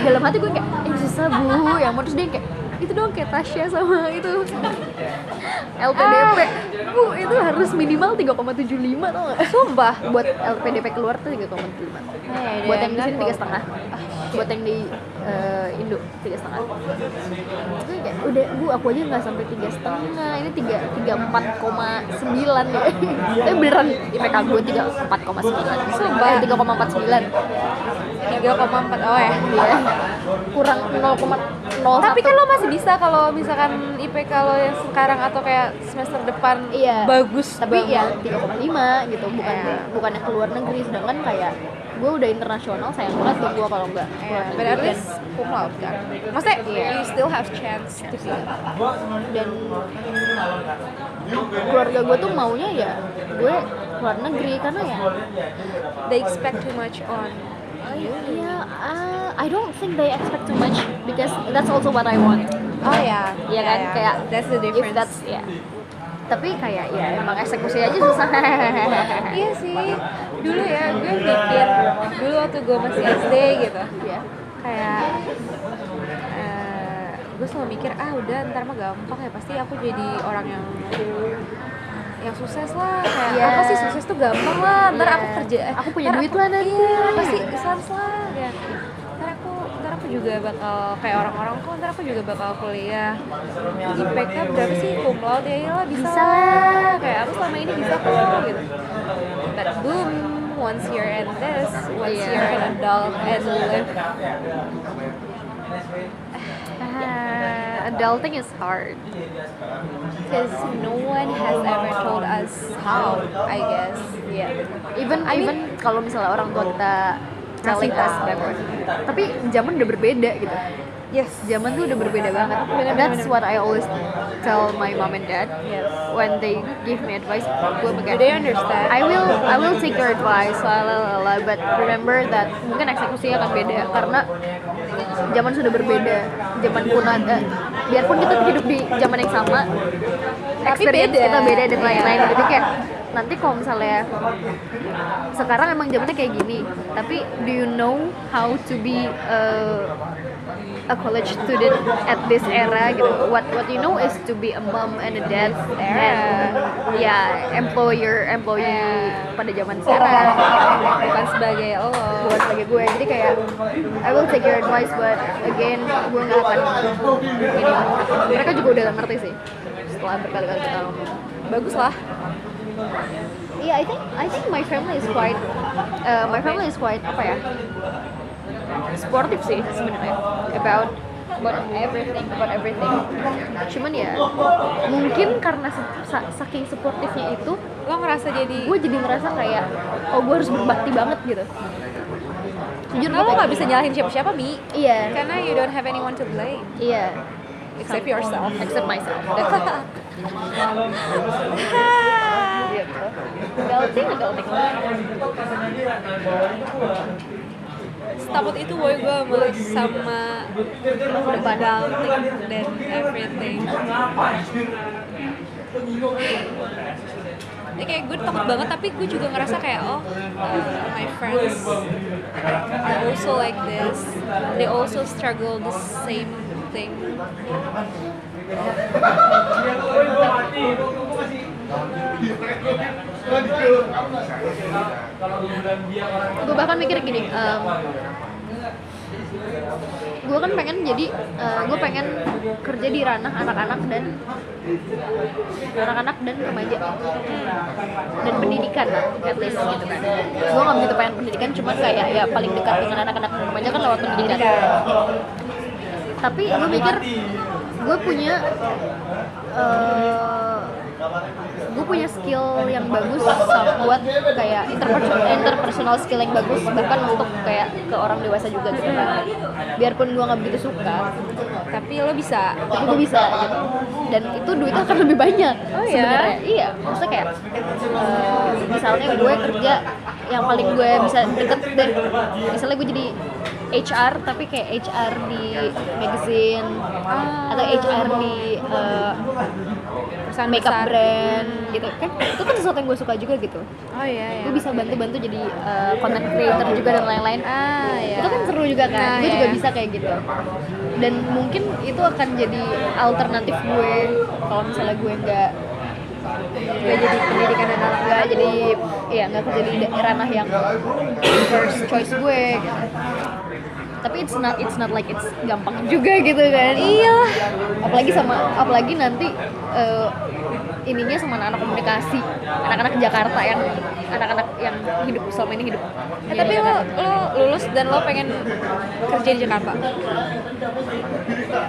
S2: dalam hati gue kayak eh susah bu yang mau terus dia kayak itu dong kayak Tasya sama itu LPDP bu itu harus minimal 3,75 tau gak? Sumpah buat LPDP keluar tuh 3,75
S1: Hey,
S2: buat
S1: they
S2: yang di
S1: are
S2: sini
S1: not
S2: tiga setengah buat yang di eh, Indo tiga setengah itu kayak udah bu aku aja nggak sampai tiga setengah ini tiga tiga empat koma sembilan ya (laughs) tapi beneran IPK gue tiga empat koma sembilan
S1: Sumpah.
S2: tiga koma empat sembilan
S1: 3,4 oh ya.
S2: ya kurang nol koma nol
S1: Tapi kan lo masih bisa kalau misalkan IPK lo yang sekarang atau kayak semester depan
S2: Iya.
S1: bagus
S2: tapi
S1: banget.
S2: ya 3,5 gitu bukan
S1: Iya.
S2: bukan yang keluar negeri sedangkan kayak gue udah internasional sayang banget tuh gue kalau nggak Iya.
S1: Yeah,
S2: keluar
S1: Iya, but
S2: negeri.
S1: at
S2: Dan-
S1: least cum laude kan. Maksudnya
S2: Iya.
S1: you still have chance to be.
S2: dan keluarga gue tuh maunya ya gue luar negeri karena ya
S1: They expect too much on
S2: ya Yeah, uh, I don't think they expect too much because that's also what I want.
S1: Oh ya.
S2: Iya kan? Kayak
S1: that's the
S2: If
S1: difference.
S2: that's yeah. Tapi kayak ya emang eksekusi aja (laughs) susah.
S1: (laughs) Iya sih. Dulu ya gue mikir dulu waktu gue masih SD gitu.
S2: Iya.
S1: Kayak eh, gue selalu mikir ah udah ntar mah gampang ya pasti aku jadi orang yang yang sukses lah kayak
S2: Iya.
S1: apa sih sukses tuh gampang lah ntar
S2: Iya.
S1: aku kerja eh,
S2: Aku punya
S1: ntar
S2: duit lah nanti.
S1: iya, pasti sukses lah ya ntar aku ntar aku juga bakal kayak orang-orang kok ntar aku juga bakal kuliah IPK berapa sih cum laude ya iyalah bisa,
S2: Bisa
S1: lah kayak aku selama ini bisa kok gitu but boom once you're in this once
S2: Iya.
S1: you're an adult (sighs) and live
S2: Ah, adulting is hard.
S1: because no one has ever told us how I guess yeah
S2: Even
S1: I mean-
S2: even kalau misalnya orang tua kita telling
S1: Ngasih
S2: us
S1: tahu.
S2: backward. Tapi zaman udah berbeda gitu.
S1: yes
S2: Zaman tuh udah berbeda banget.
S1: Bener-bener.
S2: That's what I always tell my mom and dad
S1: yes
S2: when they give me advice. Gue
S1: do
S2: pakai
S1: they understand
S2: I will I will take your advice lalala, but remember that mungkin eksekusinya akan beda karena zaman sudah berbeda zaman kuno ada biarpun kita hidup di zaman yang sama
S1: Tapi
S2: experience
S1: beda.
S2: kita beda dan
S1: Iya.
S2: lain-lain jadi kayak nanti kalau misalnya sekarang emang zamannya kayak gini tapi do you know how to be uh, a college student at this era gitu what what you know is to be a mom and a dad and ya employer employee
S1: Yeah.
S2: pada zaman sekarang
S1: bukan sebagai lo
S2: buat sebagai gue jadi kayak I will take your advice but again gue nggak akan ini mereka juga udah ngerti sih setelah berkali-kali kita ngomong
S1: bagus lah
S2: Iya, I think I think my family is quite uh, my family is quite apa ya sportive sih sebenarnya about about everything about everything. Cuman ya mungkin karena se- sa- saking sportifnya itu,
S1: lo ngerasa jadi
S2: gue jadi ngerasa kayak oh gue harus berbakti banget gitu. Jujur
S1: Karena lo
S2: gue
S1: nggak bisa nyalahin siapa-siapa mi
S2: Iya
S1: karena you don't have anyone to blame
S2: iya
S1: except yourself (laughs)
S2: except myself. gitu. Adulting adulting.
S1: Setaput itu woy gue sama, sama adulting dan everything Ini kayak gue takut banget tapi gue juga ngerasa kayak oh uh, my friends are also like this they also struggle the same thing
S2: gue bahkan mikir gini gue kan pengen jadi gue pengen kerja di ranah anak-anak dan anak-anak dan remaja dan pendidikan lah at least gitu kan gue nggak begitu pengen pendidikan cuman kayak ya paling dekat dengan anak-anak dan remaja kan lewat pendidikan tapi gue mikir gue punya eh, gue punya skill yang bagus buat kayak interpersonal, interpersonal skill yang bagus bahkan untuk kayak ke orang dewasa juga gitu kan biarpun gue nggak begitu suka
S1: tapi lo bisa
S2: tapi gue bisa gitu dan itu duitnya akan lebih banyak
S1: Oh, iya?
S2: sebenarnya iya maksudnya kayak eh, misalnya gue kerja yang paling gue bisa deket deh misalnya gue jadi HR tapi kayak HR di magazine
S1: Ah.
S2: atau HR di eh,
S1: perusahaan
S2: Kan makeup
S1: besar.
S2: brand gitu kan itu kan sesuatu yang gue suka juga gitu
S1: oh iya iya
S2: gue bisa bantu-bantu jadi uh, content creator juga dan lain-lain
S1: ah iya
S2: itu kan seru juga
S1: Nah,
S2: kan gue
S1: iya.
S2: juga bisa kayak gitu dan mungkin itu akan jadi alternatif gue kalau misalnya gue nggak nggak jadi pendidikan dan anak nggak jadi ya nggak kerja di da- ranah yang first choice gue gitu. tapi it's not it's not like it's gampang juga gitu kan iya apalagi sama apalagi nanti eh, ininya sama anak-anak komunikasi anak-anak Jakarta yang anak-anak yang hidup selama ini hidup
S1: Eh,
S2: di
S1: tapi lo,
S2: Jakarta.
S1: lo lulus dan lo pengen kerja di Jakarta.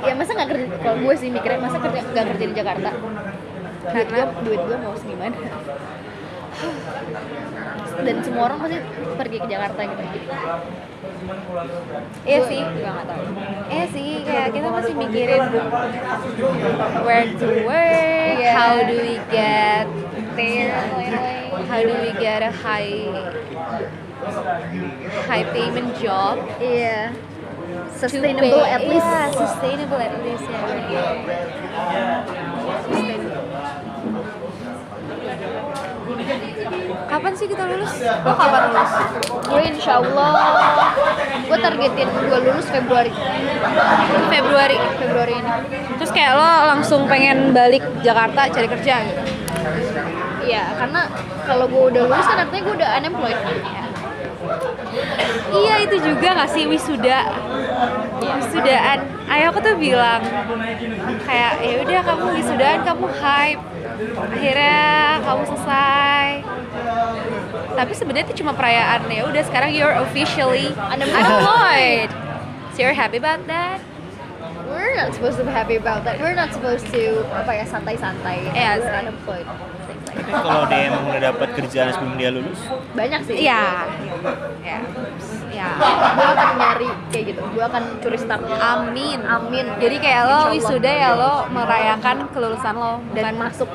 S2: ya masa nggak kerja kalau gue sih mikirnya masa kerja nggak kerja di Jakarta duit gue
S1: Karena-
S2: duit gue mau segimana dan semua orang pasti pergi ke Jakarta gitu
S1: Iya sih.
S2: gue nggak tahu
S1: Iya sih, kayak kita masih mikirin where to work,
S2: Iya.
S1: how do we get there, how do we get a high high payment job
S2: Iya.
S1: to
S2: Sustainable
S1: pay-
S2: at least.
S1: yeah, sustainable at least ya Sustainable. kapan sih kita lulus Ya, lo
S2: Oh,
S1: kapan lulus
S2: Gue insya Allah, gue targetin gue lulus Februari.
S1: Februari
S2: Februari ini.
S1: terus kayak lo langsung pengen balik Jakarta cari kerja gitu
S2: Iya, karena kalau gue udah lulus kan artinya gue udah unemployed.
S1: Iya itu juga nggak sih wisuda wisudaan. Ayah aku tuh bilang kayak ya udah kamu wisudaan kamu hype akhirnya kamu selesai. Tapi sebenarnya itu cuma perayaan ya udah sekarang you're officially unemployed. So you're happy about that?
S2: We're not supposed to be happy about that. We're not supposed to apa ya santai-santai.
S1: Yes.
S2: We're unemployed. Things like that.
S3: Tapi kalau dia emang udah dapat kerjaan sebelum dia lulus
S2: Banyak sih.
S1: Iya. Ya. Ya.
S2: Gue akan nyari kayak gitu. Gue akan curi start.
S1: Amin.
S2: Amin.
S1: Jadi kayak lo
S2: Insya Allah.
S1: wisuda ya lo merayakan kelulusan lo
S2: dan
S1: bukan
S2: masuk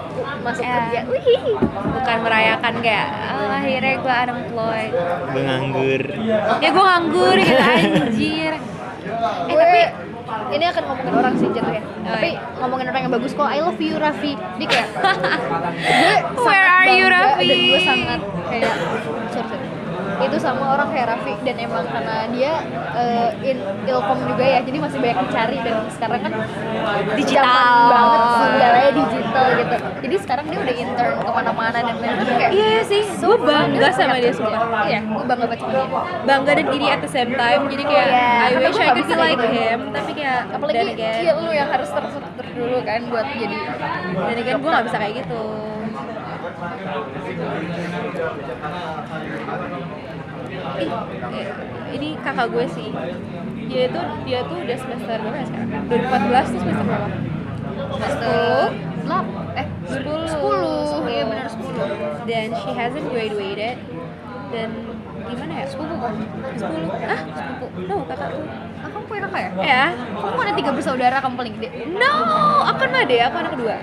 S2: masuk
S1: Iya.
S2: kerja. Wih.
S1: bukan merayakan kayak "Ah, akhirnya gue unemployed
S3: gue nganggur
S1: ya gue nganggur gitu anjir
S2: Eh, tapi ini akan ngomongin orang sih jatuh ya. Tapi
S1: iya.
S2: ngomongin orang yang bagus kok. I love you Raffi. Dia kayak gue
S1: (laughs) Where are you, Raffi?
S2: Dan gue sangat kayak sorry, sorry. Itu sama orang kayak Raffi dan emang karena dia eh, in ilkom juga ya. Jadi masih banyak dicari dan sekarang kan
S1: Digital.
S2: zaman banget segalanya digital gitu. Jadi sekarang dia udah intern kemana-mana dan lain-lain kayak
S1: iya sih gue bangga sama dia semua
S2: Iya, gue bangga banget sama dia.
S1: bangga dan iri at the same time jadi kayak
S2: Iya,
S1: I wish
S2: karena gua
S1: I
S2: nggak
S1: could be
S2: bisa kayak
S1: like
S2: gitu.
S1: him tapi kayak
S2: apalagi
S1: dan again
S2: iya lu yang harus terstruktur dulu kan buat jadi
S1: dan again gue gak bisa kayak gitu Ih, eh, ini kakak gue sih dia itu dia tuh udah semester berapa ya sekarang 2014 tuh semester berapa
S2: master lab eh
S1: 10
S2: 10 iya benar 10
S1: dan she hasn't graduated dan gimana ya sepupu kan sepuluh ah sepupu no kakak
S2: ah kamu punya kakak ya?
S1: ya
S2: kamu ada tiga bersaudara kamu paling gede
S1: no aku kan made aku anak kedua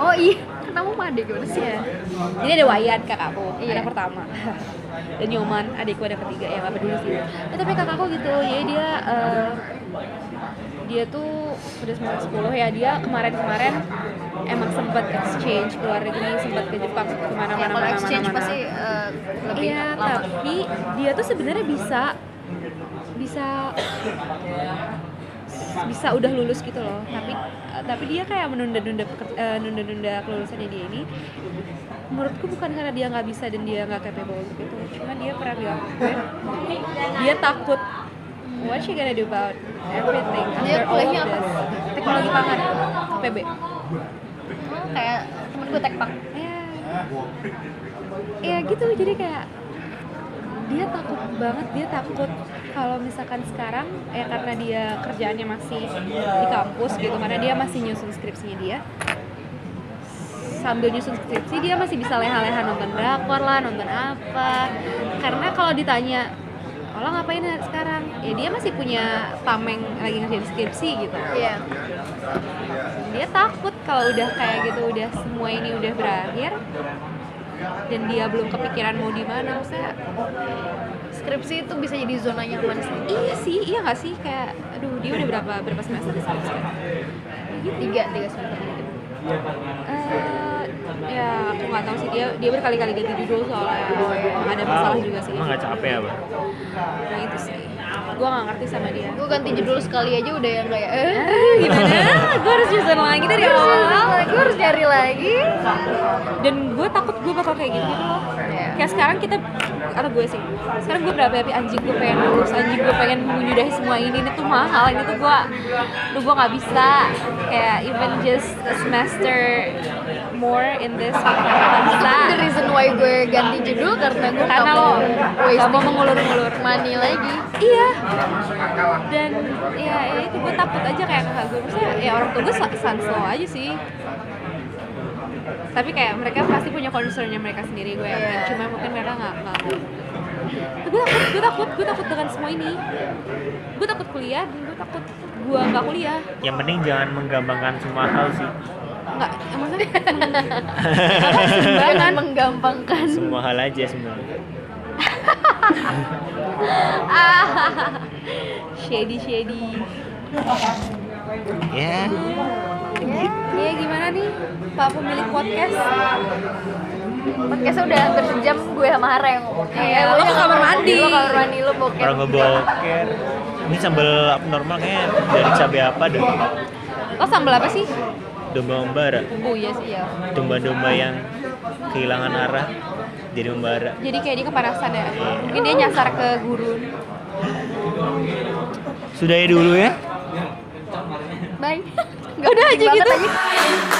S2: oh iya kenapa made gimana sih
S1: ya jadi ada Wayan kakakku
S2: Iya.
S1: anak pertama (laughs) dan Nyoman adikku anak ketiga ya nggak peduli sih Eh, tapi kakakku gitu jadi dia eh, dia tuh udah semester 10 ya dia kemarin-kemarin emang sempat exchange keluar negeri sempat ke Jepang
S2: Ya,
S1: kemana-mana
S2: kalau
S1: mana-mana,
S2: exchange
S1: mana-mana.
S2: pasti eh, lebih
S1: Iya,
S2: lama
S1: tapi dia tuh sebenarnya bisa bisa bisa udah lulus gitu loh. Tapi tapi dia kayak menunda-nunda peker- eh, nunda-nunda kelulusannya dia ini. Menurutku bukan karena dia nggak bisa dan dia nggak capable gitu. Cuma dia pernah bilang ke gue, dia takut What she gonna do about everything after
S2: Dia
S1: all of
S2: kuliahnya apa?
S1: this? Teknologi pangan, PB.
S2: Hmm, kayak temen gue tekpak
S1: Ya. ya gitu jadi kayak dia takut banget dia takut kalau misalkan sekarang ya karena dia kerjaannya masih di kampus gitu karena dia masih nyusun skripsinya dia sambil nyusun skripsi dia masih bisa leha-leha nonton drakor lah nonton apa karena kalau ditanya lo ngapain sekarang ya dia masih punya tameng lagi ngerjain skripsi gitu
S2: iya
S1: dia takut kalau udah kayak gitu udah semua ini udah berakhir dan dia belum kepikiran mau di mana maksudnya
S2: skripsi itu bisa jadi zona nyaman sih
S1: iya sih iya nggak sih kayak aduh dia udah berapa berapa semester sih sekarang? gitu
S2: tiga tiga semester
S1: Eh, ya aku nggak tahu sih dia dia berkali-kali ganti judul soalnya Emang ada masalah juga sih
S3: emang nggak capek apa
S1: nah itu sih gue nggak ngerti sama dia
S2: gue ganti judul sekali aja udah yang kayak eh
S1: Eh, gimana gue harus nyusun lagi dari
S2: gue harus
S1: awal
S2: nyari (laughs) lagi, gue harus nyari lagi
S1: dan gue takut gue bakal kayak gitu gitu loh
S2: Iya.
S1: kayak sekarang kita atau gue sih sekarang gue berapa happy anjing gue pengen lulus anjing gue pengen menyudahi semua ini ini tuh mahal ini tuh gue tuh gue nggak bisa kayak even just a semester more in this nggak bisa
S2: the reason why gue ganti judul karena gue
S1: Ah. Karena
S2: nggak
S1: lo
S2: mau
S1: nggak mau
S2: wasting
S1: mengulur-ulur
S2: money lagi
S1: iya dan ya, ya itu gue takut aja kayak kakak gue maksudnya ya orang tua gue sa- sans slow aja sih tapi kayak mereka pasti punya concernnya mereka sendiri gue yakin
S2: Iya.
S1: cuma mungkin mereka nggak nggak gue takut gue takut gue takut dengan semua ini gue takut kuliah dan gue takut gue nggak kuliah
S3: yang penting jangan menggampangkan semua hal sih
S1: nggak ya maksudnya (laughs) apa, sembarangan
S2: menggampangkan
S3: semua hal aja sebenarnya
S1: Ah, shady shady.
S3: ya
S1: Ya, ya gimana nih Pak pemilik podcast?
S2: Podcastnya udah hampir sejam gue sama Hara yang ngomong.
S1: Iya,
S2: Eh,
S1: lo ke
S2: yang
S1: kamar
S2: ngomong.
S1: mandi.
S2: Lo kamar mandi lo bokep.
S3: orang ngebokir ini sambal abnormal kayaknya dari cabai apa deh
S1: Lo sambal apa sih?
S3: domba membara
S1: Oh iya sih ya.
S3: domba-domba yang kehilangan arah jadi membara
S1: Jadi kayak dia kepanasan ya. Mungkin dia nyasar ke gurun.
S3: sudah ya dulu ya
S2: Bye.
S1: Udah aja
S2: Banget
S1: gitu.
S2: aja.